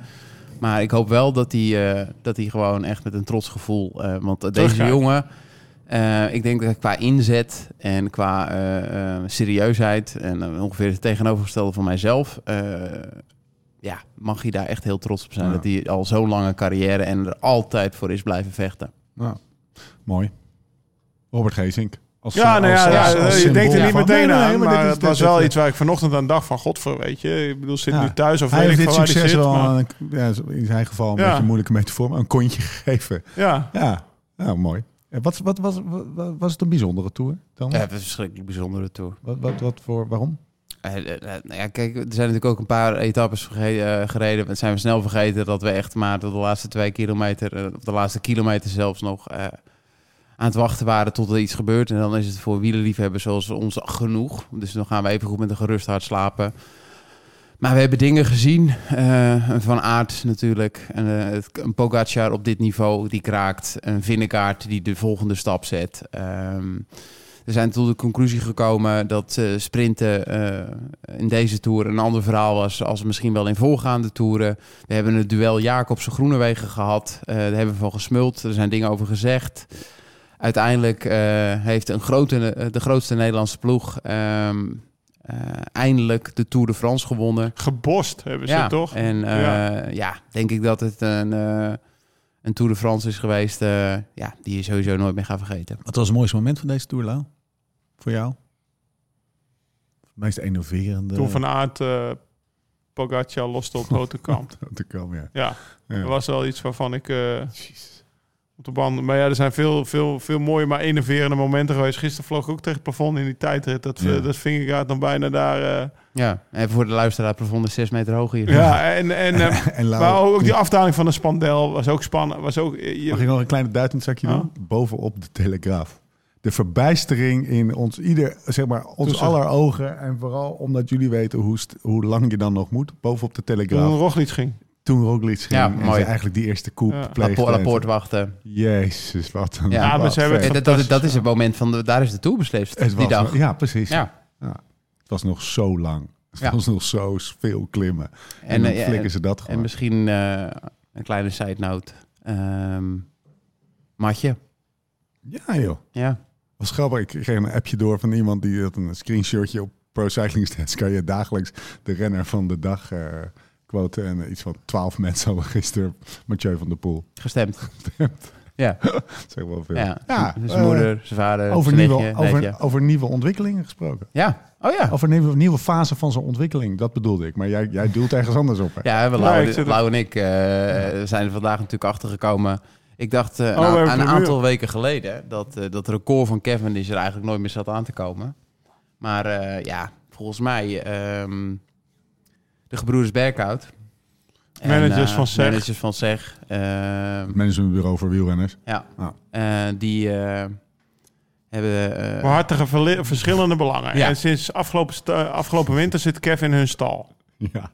S3: Maar ik hoop wel dat hij, eh, dat hij gewoon echt met een trots gevoel. eh, want deze
S4: Teruggaat.
S3: jongen, eh, ik denk dat qua inzet en qua eh, eh, serieusheid. en eh, ongeveer het tegenovergestelde van mijzelf. eh, ja, mag je daar echt heel trots op zijn.
S1: Ja.
S3: Dat hij al zo'n lange carrière en er altijd voor is blijven vechten.
S1: Ja. Mooi. Robert Geesink. Als,
S4: Ja, nou ja,
S1: als-
S4: ja,
S1: als- als
S4: je
S1: symbool
S4: denkt er niet
S1: van-
S4: meteen
S1: Nee, nee, nee,
S4: aan,
S1: dit
S4: maar
S1: is-
S4: het
S1: dit
S4: was
S1: is-
S4: wel iets waar ik vanochtend aan dacht van god voor weet je. Ik bedoel, zit
S1: Ja.
S4: nu thuis of
S1: Hij
S4: weet
S1: heeft
S4: ik
S1: dit
S4: van waar die
S1: succes
S4: zit,
S1: wel,
S4: maar-
S1: een- ja, in zijn geval een
S4: Ja.
S1: beetje moeilijke metafoor, maar een kontje (laughs) gegeven.
S4: Ja,
S1: Ja, ja mooi. En Wat, wat, was wat, was het een bijzondere tour dan?
S3: Ja, het is een verschrikkelijk bijzondere tour.
S1: Wat, wat, wat voor, waarom?
S3: Eh, eh, eh, nou ja, kijk, er zijn natuurlijk ook een paar etappes verge- eh, gereden. Het zijn we snel vergeten dat we echt maar tot de laatste twee kilometer, eh, of de laatste kilometer zelfs nog eh, aan het wachten waren tot er iets gebeurt. En dan is het voor wielerliefhebbers zoals ons genoeg. Dus dan gaan we even goed met een gerust hart slapen. Maar we hebben dingen gezien. eh, een van Aert natuurlijk. Een, eh, het- een Pogacar op dit niveau die kraakt. Een Vinnekaart die de volgende stap zet. Ehm, we zijn tot de conclusie gekomen dat eh, sprinten eh, in deze tour een ander verhaal was als misschien wel in voorgaande toeren. We hebben het duel Jacobsen Groenewegen gehad. Eh, daar hebben we van gesmuld. Er zijn dingen over gezegd. Uiteindelijk eh, heeft een grote, eh, de grootste Nederlandse ploeg ehm, eh, eindelijk de Tour de France gewonnen.
S4: gebost hebben ze toch?
S3: En eh, ja. denk ik dat het een, eh, een Tour de France is geweest eh, ja, die je sowieso nooit meer gaat vergeten.
S1: Wat was het mooiste moment van deze tour, Lau? Voor jou? Het meest innoverende.
S4: Toen
S1: (laughs)
S4: van Aert eh Pogacar loste op Rotterdam.
S1: te komen, ja.
S4: ja,
S1: Ja.
S4: dat was wel iets waarvan ik... eh, op de band. Maar ja, er zijn veel, veel, veel mooie, maar enerverende momenten geweest. Gisteren vloog ik ook tegen het plafond in die tijdrit. Dat,
S1: Ja.
S4: eh, dat vingergaard dan bijna daar... eh,
S3: Ja, en voor de luisteraar, plafond is 6 meter hoog hier.
S4: Ja, en, en,
S1: (laughs)
S4: eh,
S1: En Lau,
S4: maar ook die afdaling van de spandel was ook spannend. Was ook, eh, je-
S1: Mag ik nog een kleine duitendzakje doen? Bovenop de Telegraaf. De verbijstering in ons ieder, zeg maar, ons
S4: Tussen.
S1: aller ogen. En vooral omdat jullie weten hoe, st- hoe lang je dan nog moet. Bovenop de
S4: toen
S1: Telegraaf.
S4: Roglic ging.
S1: Toen Roglic ging
S3: Ja,
S1: en
S3: mooi.
S1: ze eigenlijk die eerste koep
S4: Ja.
S1: pleegde.
S3: Lapo-
S1: en-
S3: Laporte wachten.
S1: Jezus, wat een...
S3: Ja,
S4: maar
S1: wat
S4: ze hebben
S1: vet.
S3: Eh, Dat,
S4: het
S3: dat,
S4: fantastisch,
S3: dat is het moment van, de, daar is de Tour beslist,
S1: Het
S3: die
S1: was
S3: dag.
S1: nog- ja, precies.
S3: Ja.
S1: Het was nog zo lang. Het
S3: Ja.
S1: was nog zo veel klimmen. En,
S3: En,
S1: dan
S3: eh, ja,
S1: flikken
S3: en-
S1: ze dat gewoon.
S3: En misschien eh, een kleine side note. Ehm, matje,
S1: Ja joh.
S3: ja.
S1: Was grappig. Ik kreeg een appje door van iemand die had een screenshotje op Pro Cycling Stats. Kan je dagelijks de renner van de dag eh quoten. En eh, iets van twaalf mensen hadden gisteren Mathieu van der Poel.
S3: Gestemd.
S1: Gestemd.
S3: Ja,
S1: Dat is echt wel veel.
S3: ja. Dus
S1: Ja,
S3: zijn
S1: eh,
S3: moeder, zijn vader,
S1: Over
S3: zijn
S1: nieuwe,
S3: nichtje, neefje.
S1: over, over nieuwe ontwikkelingen gesproken.
S3: Ja, oh ja.
S1: Over nieuwe, nieuwe fase van zijn ontwikkeling. Dat bedoelde ik. Maar jij, jij doelt ergens anders op. Hè?
S3: Ja, we,
S4: Ja,
S3: Lau,
S4: ik zit-
S3: Lau en ik eh, zijn er vandaag natuurlijk achtergekomen. Ik dacht eh,
S4: Oh, we
S3: nou,
S4: hebben
S3: een
S4: de muur.
S3: aantal weken geleden dat eh, dat record van Kevin is er eigenlijk nooit meer zat aan te komen. Maar eh, ja, volgens mij ehm, de gebroeders Berkhout. En,
S4: Managers
S3: eh,
S4: van Zeg.
S3: Managers van Zeg. ehm,
S1: Het managementbureau voor wielrenners.
S3: ja,
S1: Ja.
S3: Eh, die eh, hebben... eh,
S4: Behartigen verli- verschillende belangen.
S3: Ja.
S4: En sinds afgelopen, sta- afgelopen winter zit Kevin in hun stal.
S1: (laughs) Ja.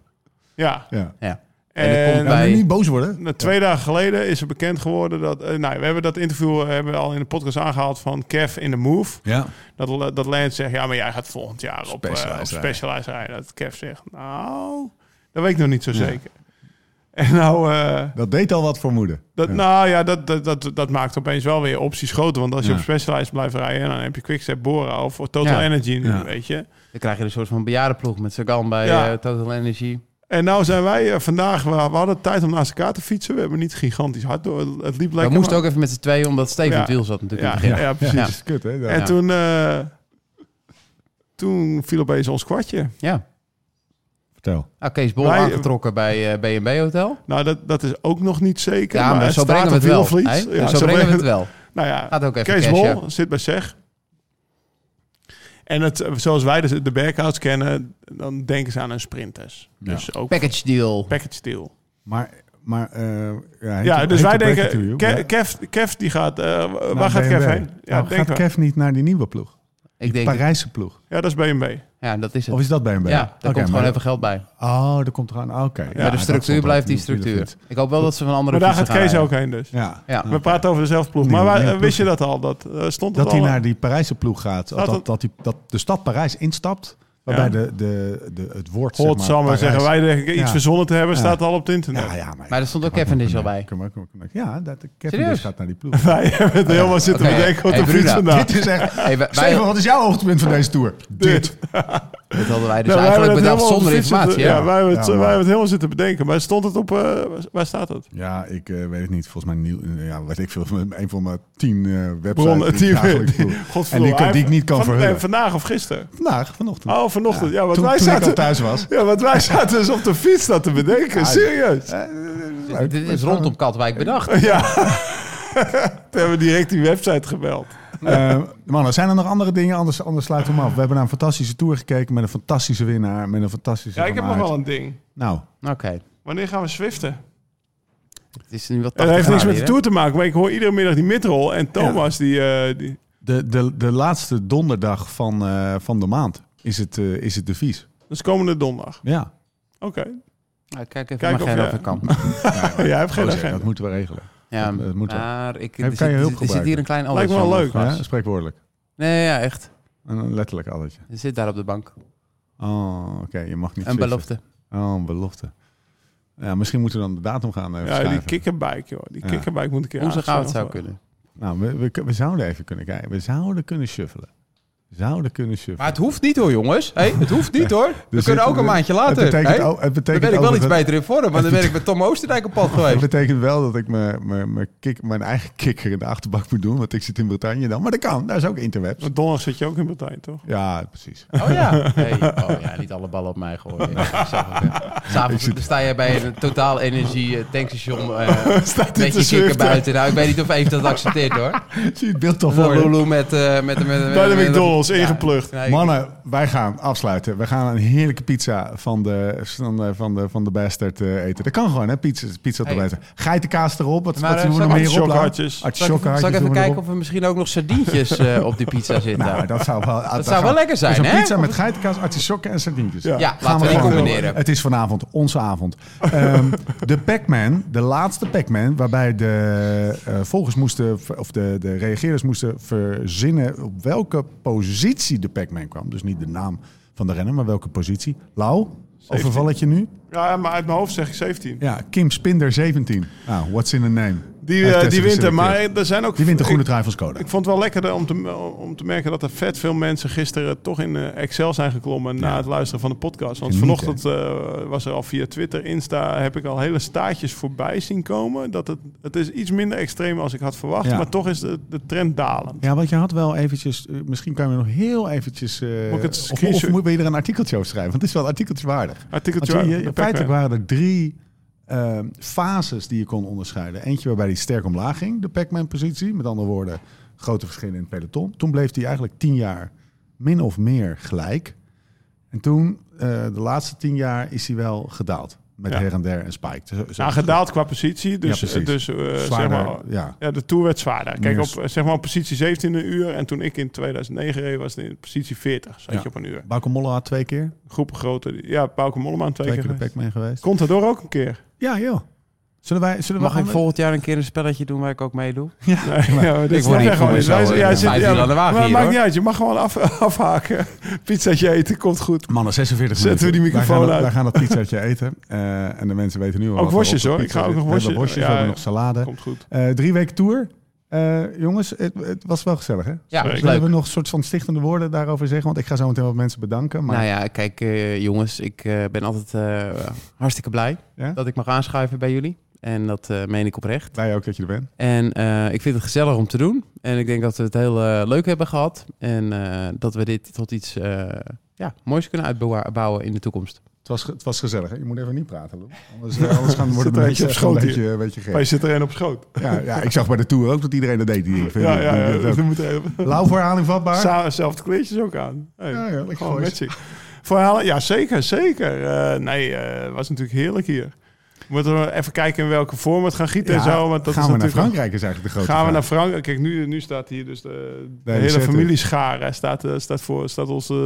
S4: Ja.
S1: ja.
S3: ja. En er komt
S4: En,
S1: Nou,
S3: bij-
S1: maar niet boos worden.
S4: nou, twee dagen geleden is er bekend geworden dat... eh, nou, we hebben dat interview eh, hebben we al in de podcast aangehaald van Kev in de Move.
S1: Ja.
S4: Dat, Le- dat Lance zegt, ja, maar jij gaat volgend jaar op, eh,
S1: Specialized
S4: op
S1: rijden.
S4: Specialized rijden. Dat Kev zegt, nou, dat weet ik nog niet zo zeker. En nou... eh,
S1: Dat deed al wat vermoeden.
S4: Dat,
S1: Ja.
S4: Nou ja, dat, dat, dat, dat maakt opeens wel weer opties groter. Want als je
S1: Ja.
S4: op Specialized blijft rijden, dan heb je Quickstep Bora of Total
S3: Ja.
S4: Energy nu,
S1: Ja.
S4: weet je.
S3: Dan krijg je een soort van bejaardenploeg met Sagan bij
S4: Ja.
S3: eh, Total Energy.
S4: En nou zijn wij eh, vandaag, we, we hadden tijd om naast elkaar te fietsen. We hebben niet gigantisch hard door. Het liep lekker.
S3: We moesten
S4: maar-
S3: ook even met z'n tweeën, omdat Steven
S4: Ja.
S3: op het wiel zat natuurlijk in het
S4: Ja,
S3: begin.
S4: ja, precies.
S1: Dat is kut, hè? Ja.
S4: En toen, eh, toen viel opeens ons kwartje.
S3: ja.
S1: Vertel.
S3: Ah, Kees Bol
S4: Wij-
S3: aangetrokken bij eh, B&B Hotel.
S4: Nou, dat, dat is ook nog niet zeker.
S3: Ja, maar, zo
S4: staat
S3: brengen we
S4: op
S3: het wel.
S4: Wielvliet.
S3: hè?
S4: Ja,
S3: zo brengen we het wel.
S4: Nou ja,
S3: Gaat ook even
S4: Kees
S3: cashen.
S4: Bol zit bij SEG. En het, eh, zoals wij de, de Berghouts kennen, dan denken ze aan hun sprinters.
S1: Ja.
S4: Dus ook
S3: Package deal.
S4: package deal.
S1: Maar, maar eh, ja,
S4: Ja,
S1: heet-
S4: dus
S1: heet
S4: wij
S1: op
S4: denken,
S1: interview.
S4: Kev,
S1: Ja.
S4: Kev, Kev die gaat, eh,
S1: Naar
S4: waar gaat Kev
S1: BMW.
S4: heen? Ja,
S1: Nou, gaat
S4: denken we.
S1: Kev niet naar die nieuwe ploeg?
S3: Ik denk,
S1: Parijse ploeg.
S4: Ja, dat is BMW.
S3: ja, dat is het.
S1: Of is dat bij een
S3: ja,
S1: beetje?
S3: daar
S1: Oké,
S3: komt gewoon
S1: maar-
S3: even geld bij.
S1: Oh, daar komt er aan. Oké.
S3: maar de
S1: dat
S3: structuur
S1: stond
S3: blijft
S1: ook
S3: die
S1: in de
S3: structuur.
S1: fiets.
S3: Ik hoop wel dat ze van andere
S4: Maar daar gaat
S3: fietsen
S4: Kees
S3: gaan
S4: ook heen dus.
S1: Ja.
S3: rijden. Ja.
S4: We praten over dezelfde ploeg.
S1: Nieuwe-
S4: Maar waar-
S1: nieuwe
S4: eh, wist je
S1: ploeg.
S4: dat al? Dat, eh, stond het
S1: Dat hij
S4: al
S1: naar die Parijse ploeg gaat.
S4: Staat
S1: Dat, dat,
S4: het-
S1: dat, die, dat de stad Parijs instapt. Waarbij
S4: Ja.
S1: de, de, de, het woord.
S4: Hoort
S1: zeg maar,
S4: samen
S1: Parijs-
S4: zeggen wij denk ik, iets
S1: Ja.
S4: verzonnen te hebben,
S1: Ja.
S4: staat al op het internet.
S1: Ja, ja, maar.
S3: Maar er stond ook Kevin Dish al bij.
S1: Kan maar- kan maar- Ja, dat, Kevin
S3: Serieus?
S1: Dish gaat naar die ploeg.
S4: (laughs) Wij hebben het helemaal zitten
S3: Oké.
S4: bedenken wat
S3: Hey,
S4: de fiets
S3: Bruna.
S4: vandaag.
S1: Dit is echt.
S3: Hey, wij, wij-
S1: Steven, wat is jouw hoogtepunt van deze tour? Dit.
S3: dat hadden wij dus
S4: Nou, wij hebben
S3: eigenlijk
S4: het
S3: bedacht
S4: helemaal
S3: zonder
S4: zitten-
S3: informatie. hè?
S4: Ja, wij hebben, het,
S1: Ja, maar-
S4: wij hebben het helemaal zitten bedenken. Maar stond het op... eh, waar staat het?
S1: Ja, ik eh, weet het niet. Volgens mij nieuw, eh, ja, weet ik veel. (laughs) Een van mijn tien eh websites.
S4: Bron,
S1: die
S4: het
S1: ik
S4: team.
S1: dagelijks
S4: (laughs) die-
S1: doe. en
S4: Godverdomme,
S1: die, kan, die ik niet kan
S4: van- nee,
S1: verhullen.
S4: vandaag of gisteren?
S1: Vandaag, vanochtend.
S4: Oh, vanochtend. Ja, want
S1: toen,
S4: wij
S1: toen ik
S4: zaten...
S1: al thuis was.
S4: (laughs) Ja, want wij zaten dus op de fiets dat te bedenken. Serieus.
S1: Leuk.
S3: Dit is rondom Katwijk bedacht.
S4: Ja. (laughs) Toen hebben we direct die website gebeld.
S1: (laughs) Eh, mannen, zijn er nog andere dingen? Anders, anders sluiten we hem af. We hebben naar een fantastische tour gekeken met een fantastische winnaar. Met een fantastische
S4: Ja, ik heb nog
S1: Van Aert.
S4: wel een ding.
S1: Nou,
S3: Oké.
S4: Wanneer gaan we swiften?
S3: Het is nu wat
S4: Het
S3: 80
S4: heeft niks
S3: graden
S4: met de
S3: hier,
S4: tour te maken, maar ik hoor iedere middag die midrol. En Thomas, die, eh, die...
S1: de, de, de laatste donderdag van, eh, van de maand is het, eh is het devies.
S4: Dat is komende donderdag.
S1: Ja,
S4: (laughs) Oké.
S3: hè? Nou, Kijk even
S4: Kijk
S3: Kijk
S4: of
S3: of,
S4: je-
S3: of ik kan.
S4: Jij hebt geen
S1: Oh, zeg,
S4: agenda.
S1: dat moeten we regelen.
S3: Ja,
S1: Dat- dat moet wel.
S3: maar ik,
S1: Heb-
S3: er,
S1: kan
S3: zit,
S1: je
S3: er
S1: hulp
S3: zit- er zit
S1: gebruiken?
S3: hier een klein
S4: Lijkt me wel
S3: allertje
S4: leuk.
S3: aan vast.
S1: Ja, spreekwoordelijk.
S3: Nee, ja, echt.
S1: En een letterlijk alletje.
S3: Hij zit daar op de bank.
S1: Oh, oké, je mag niet
S3: Een
S1: switchen.
S3: belofte.
S1: Oh, een belofte. Ja, misschien moeten we dan de datum gaan eh, even
S4: Ja, die
S1: schrijven.
S4: kikkerbike, joh. Die
S1: Ja.
S4: kikkerbike moet ik keer
S3: Onze goud zou
S4: aangeschaft
S3: kunnen.
S1: Nou, we, we, we zouden even kunnen kijken. We zouden kunnen shuffelen. We zouden kunnen shuffelen.
S7: Maar het hoeft niet hoor, jongens. Hey, het hoeft niet hoor. We
S1: Dus
S7: kunnen
S1: dit-
S7: ook een maandje later.
S1: Het betekent,
S7: hey.
S1: ook- het
S7: dan
S1: betekent
S7: ben ik wel iets
S1: overigens-
S7: beter in vorm. Want dan ben ik met Tom Oosterdijk op pad
S1: Dat
S7: geweest.
S1: betekent wel dat ik mijn, mijn, mijn, kick, mijn eigen kikker in de achterbak moet doen. Want ik zit in Bretagne dan. Maar dat kan. Daar is ook
S4: worden.
S1: interwebs.
S4: Want donderdag zit je ook in Bretagne, toch?
S1: Ja, precies.
S3: Oh
S4: (laughs)
S3: ja. Hey, oh ja, niet alle ballen op mij gooien. Ja, ik zag het, ja. S'avonds
S1: Ik zit-
S3: sta je bij een totaal energie eh, tankstation
S4: (laughs)
S3: eh
S4: Staat dit
S3: met
S4: te
S3: je kikker
S4: zwiften?
S3: (laughs) buiten. Nou, ik weet niet of Eve dat accepteert hoor.
S1: Zie je het beeld toch voor je?
S7: Lulu met... eh met, met, met,
S4: Bij de
S7: met-
S4: McDonald's, ingeplucht.
S3: Nee, ik-
S1: Mannen, wij gaan afsluiten. We gaan een heerlijke pizza van de, van de, van de, van de bastard eh, eten. Dat kan gewoon, hè? Pizza, pizza op de
S3: Hey.
S1: beste. Geitenkaas erop. Wat,
S3: Maar,
S1: wat
S3: eh,
S1: doen we
S3: zal
S1: nog
S3: ik-
S1: meer op?
S4: Artisjokhartjes.
S1: Artisjokhartjes
S3: Zal ik, even- zal ik
S1: doen
S3: even
S1: we
S3: kijken
S1: erop.
S3: of er misschien ook nog sardientjes eh, op die pizza zitten?
S1: Nou, dat zou wel, dat
S3: zou wel lekker zijn,
S1: dus een
S3: hè?
S1: pizza met geitenkaas, artisjokken en sardientjes.
S4: Ja.
S3: Ja, laten we die
S1: gewoon
S3: combineren.
S1: doen. Het is vanavond onze avond.
S3: (laughs)
S1: Ehm, de Pac-Man, de laatste Pac-Man, waarbij de eh, volgers moesten, of de, de reageerders moesten verzinnen op welke positie de Pac-Man kwam. Dus niet de naam van de renner, maar welke positie. Lau, overval het je nu?
S4: Ja, maar uit mijn hoofd zeg ik 17.
S1: Ja, Kim Spinder 17. Nou, what's in the name?
S4: Die,
S1: Hij heeft
S4: eh, die
S1: Tesla
S4: wint er,
S1: geselecteerd.
S4: maar er zijn ook...
S1: Die wint de groene
S4: ik,
S1: trui van Skoda.
S4: ik vond het wel lekker om te, om te merken dat er vet veel mensen gisteren toch in eh, Excel zijn geklommen na het luisteren van de podcast. Want
S1: Geniet,
S4: vanochtend eh, was er al via Twitter, Insta, heb ik al hele staartjes voorbij zien komen. Dat het, het is iets minder extreem als ik had verwacht,
S1: Ja.
S4: maar toch is de, de trend dalend.
S1: Ja, want je had wel eventjes... eh, Misschien kan je nog heel eventjes... eh,
S4: ik het
S1: of,
S4: screenshot-
S1: of moet je er een artikeltje over schrijven? Want het is wel een artikeltje waardig.
S4: Artikeltje
S1: Want je- je-
S4: uit de
S1: feitelijk
S4: Pac-Man.
S1: waren er drie ehm, fases die je kon onderscheiden. Eentje waarbij die sterk omlaag ging, de Pac-Man-positie. Met andere woorden, grote verschillen in het peloton. Toen bleef die eigenlijk tien jaar min of meer gelijk. En toen, eh, de laatste tien jaar, is hij wel gedaald. Met
S4: Ja.
S1: her en der en Spike. Zo- zo-
S4: Nou, gedaald qua positie. Dus,
S1: Ja, precies.
S4: dus eh, zeg
S1: Zwaarder,
S4: maar,
S1: ja.
S4: ja, de Tour werd zwaarder. Kijk,
S1: Meer
S4: op,
S1: s-
S4: eh, zeg maar op positie 17 een uur. En toen ik in 2009 reed, was het in positie 40. Zat
S1: Ja.
S4: je op een uur.
S1: Bauke Mollema had twee keer.
S4: Groepen groter. die- Ja, Pauke Mollema twee,
S1: Twee keer de
S4: keer.
S1: Pac-Man geweest.
S4: Komt er door ook een keer?
S1: Ja, joh. Zullen wij, zullen
S3: Mag
S1: we
S3: ik
S1: gaan-
S3: volgend jaar een keer een spelletje doen waar ik ook meedoe?
S4: Nee, ja, maar dit
S7: Ik word
S4: mag
S7: niet
S4: er gewoon
S7: voor
S4: niet
S7: zo,
S4: bij.
S7: eh,
S4: Jij
S7: vijf
S4: zit-
S7: uur
S4: ja,
S7: aan de wagen
S4: maar
S7: hier,
S4: maakt
S7: hoor.
S4: niet uit. Je mag gewoon af, (laughs) afhaken. Pizzaatje eten, komt goed.
S1: Mannen, 46
S4: Zetten
S1: minuten.
S4: we die
S1: wij
S4: microfoon
S1: gaan,
S4: uit.
S1: Wij gaan dat pizzaatje eten. Eh, en de mensen weten nu al
S4: Ook
S1: wat er
S4: worstjes,
S1: op de
S4: hoor.
S1: pizza
S4: Ik ga ook
S1: zit.
S4: nog
S1: We hebben worstjes,
S4: worstjes- ja,
S1: we hebben
S4: ja.
S1: nog salade.
S4: Komt goed.
S1: Eh, drie weken tour. Eh, jongens, het, het was wel gezellig, hè?
S3: Ja,
S4: Zeker.
S3: is
S1: Zullen
S3: leuk.
S1: we nog een soort van stichtende woorden daarover zeggen? Want ik ga zo meteen wat mensen bedanken. Maar
S3: Nou ja, kijk eh, jongens, ik eh, ben altijd eh, hartstikke blij
S1: Ja?
S3: dat ik mag aanschuiven bij jullie. En dat eh, meen ik oprecht.
S1: wij ook dat je er bent.
S3: En eh, ik vind het gezellig om te doen. En ik denk dat we het heel eh, leuk hebben gehad. En eh, dat we dit tot iets eh, ja, moois kunnen uitbouwen in de toekomst.
S1: Het was, ge- het was gezellig, hè? Je moet even niet praten, Lou. Anders,
S4: (laughs)
S1: eh, anders gaan worden
S4: Zit
S1: de mensen
S4: er eentje op
S1: echt een
S4: schoot hier.
S1: beetje, een beetje gek.
S4: Maar je zit er één op schoot.
S1: Ja, ja, ik zag bij de tour ook dat iedereen dat deed. Die ik vind
S4: Ja, ja, ja.
S1: dat ook.
S4: Dat moet even.
S1: Lauw voor herhaling vatbaar.
S4: Sa- Zelfde kleertjes ook aan. Hey,
S1: Ja, ja, lekker
S4: gewoon
S1: gooi.
S4: matching. Verhalen, ja, zeker, zeker. Eh, nee, eh, was natuurlijk heerlijk hier. Moeten we even kijken in welke vorm we het gaan gieten
S1: Ja,
S4: en zo. Want dat
S1: gaan
S4: is
S1: we naar
S4: natuurlijk
S1: Frankrijk is eigenlijk de grote
S4: Gaan we naar
S1: vraag.
S4: Frankrijk? Kijk, nu, nu staat hier dus de, de
S1: Nee, die
S4: hele
S1: zetten.
S4: familie scharen staat, eh, staat, voor, staat ons eh,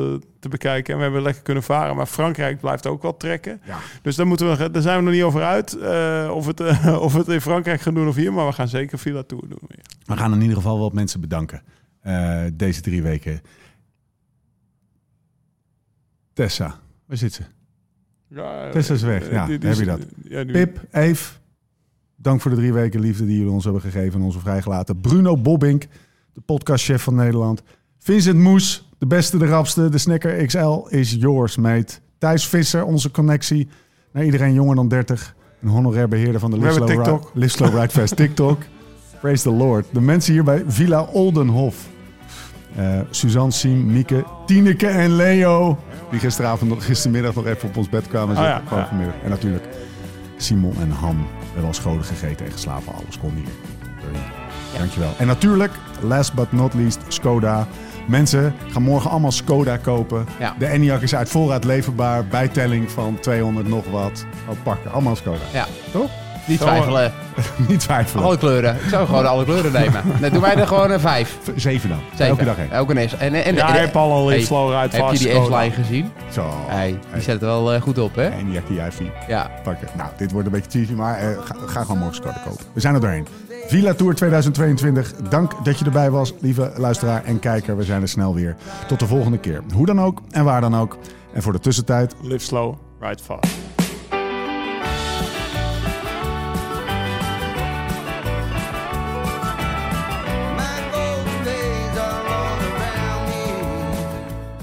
S4: te bekijken. En we hebben lekker kunnen varen. Maar Frankrijk blijft ook wel trekken.
S1: Ja.
S4: Dus daar, moeten we, daar zijn we nog niet over uit. eh, of, het, eh, (laughs) of we het in Frankrijk gaan doen of hier. Maar we gaan zeker Villa Tour doen. weer.
S1: We gaan in ieder geval wat mensen bedanken eh, deze drie weken. Tessa, waar zit ze?
S4: Ja, eh,
S1: Tessa is dus weg.
S4: eh,
S1: Ja,
S4: die- die
S1: heb
S4: is-
S1: je dat.
S4: ja, die-
S1: Pip, Eve, dank voor de drie weken liefde die jullie ons hebben gegeven en onze vrijgelaten. Bruno Bobbink, de podcastchef van Nederland. Vincent Moes, de beste, de rapste. De Snacker XL is yours, mate. Thijs Visser, onze connectie naar iedereen jonger dan 30. Een honorair beheerder van de
S4: We
S1: Live
S4: hebben
S1: Slow Ri-
S4: TikTok.
S1: Live Slow Ride Fest TikTok.
S4: (laughs)
S1: Praise the Lord. De mensen hier bij Villa Oldenhof. Eh, Suzanne, Siem, Mieke, Tineke en Leo. Die gisteravond, nog- gistermiddag nog even op ons bed kwamen
S4: Oh
S1: zitten.
S4: ja,
S1: Gewoon
S4: ja.
S1: vanmiddag. En natuurlijk Simon en Ham. We hebben al scholen gegeten en geslapen. Alles kon hier. Sorry. Dankjewel. En natuurlijk, last but not least, Skoda. Mensen, gaan morgen allemaal Skoda kopen.
S3: Ja.
S1: De Enyaq is uit voorraad leverbaar. Bijtelling van 200 nog wat. Oh, pakken. Allemaal Skoda.
S3: Ja.
S1: Toch?
S3: Niet twijfelen. Oh,
S1: Niet twijfelen.
S3: eh, Alle kleuren. Ik zou gewoon alle kleuren nemen. Nee, doen wij er gewoon een vijf.
S1: Zeven dan.
S3: Zeven.
S1: Elke dag één.
S3: Elke dag. En, en, en,
S4: Ja,
S3: en-
S4: hij heeft al al in
S3: Hey,
S4: slow ride
S3: Heb je
S4: vast.
S3: die S-line gezien?
S1: Zo.
S3: Hey, die zet er wel eh, goed op, hè?
S1: Enyaq die jij
S3: Ja.
S1: pakken. Nou, dit wordt een beetje cheesy, maar eh, ga, ga gewoon morgen scoren kopen. We zijn er doorheen. Villa Tour 2022. Dank dat je erbij was, lieve luisteraar en kijker. We zijn er snel weer. Tot de volgende keer. Hoe dan ook en waar dan ook. En voor de tussentijd,
S4: Live slow, ride fast.
S2: My golden days are all around me.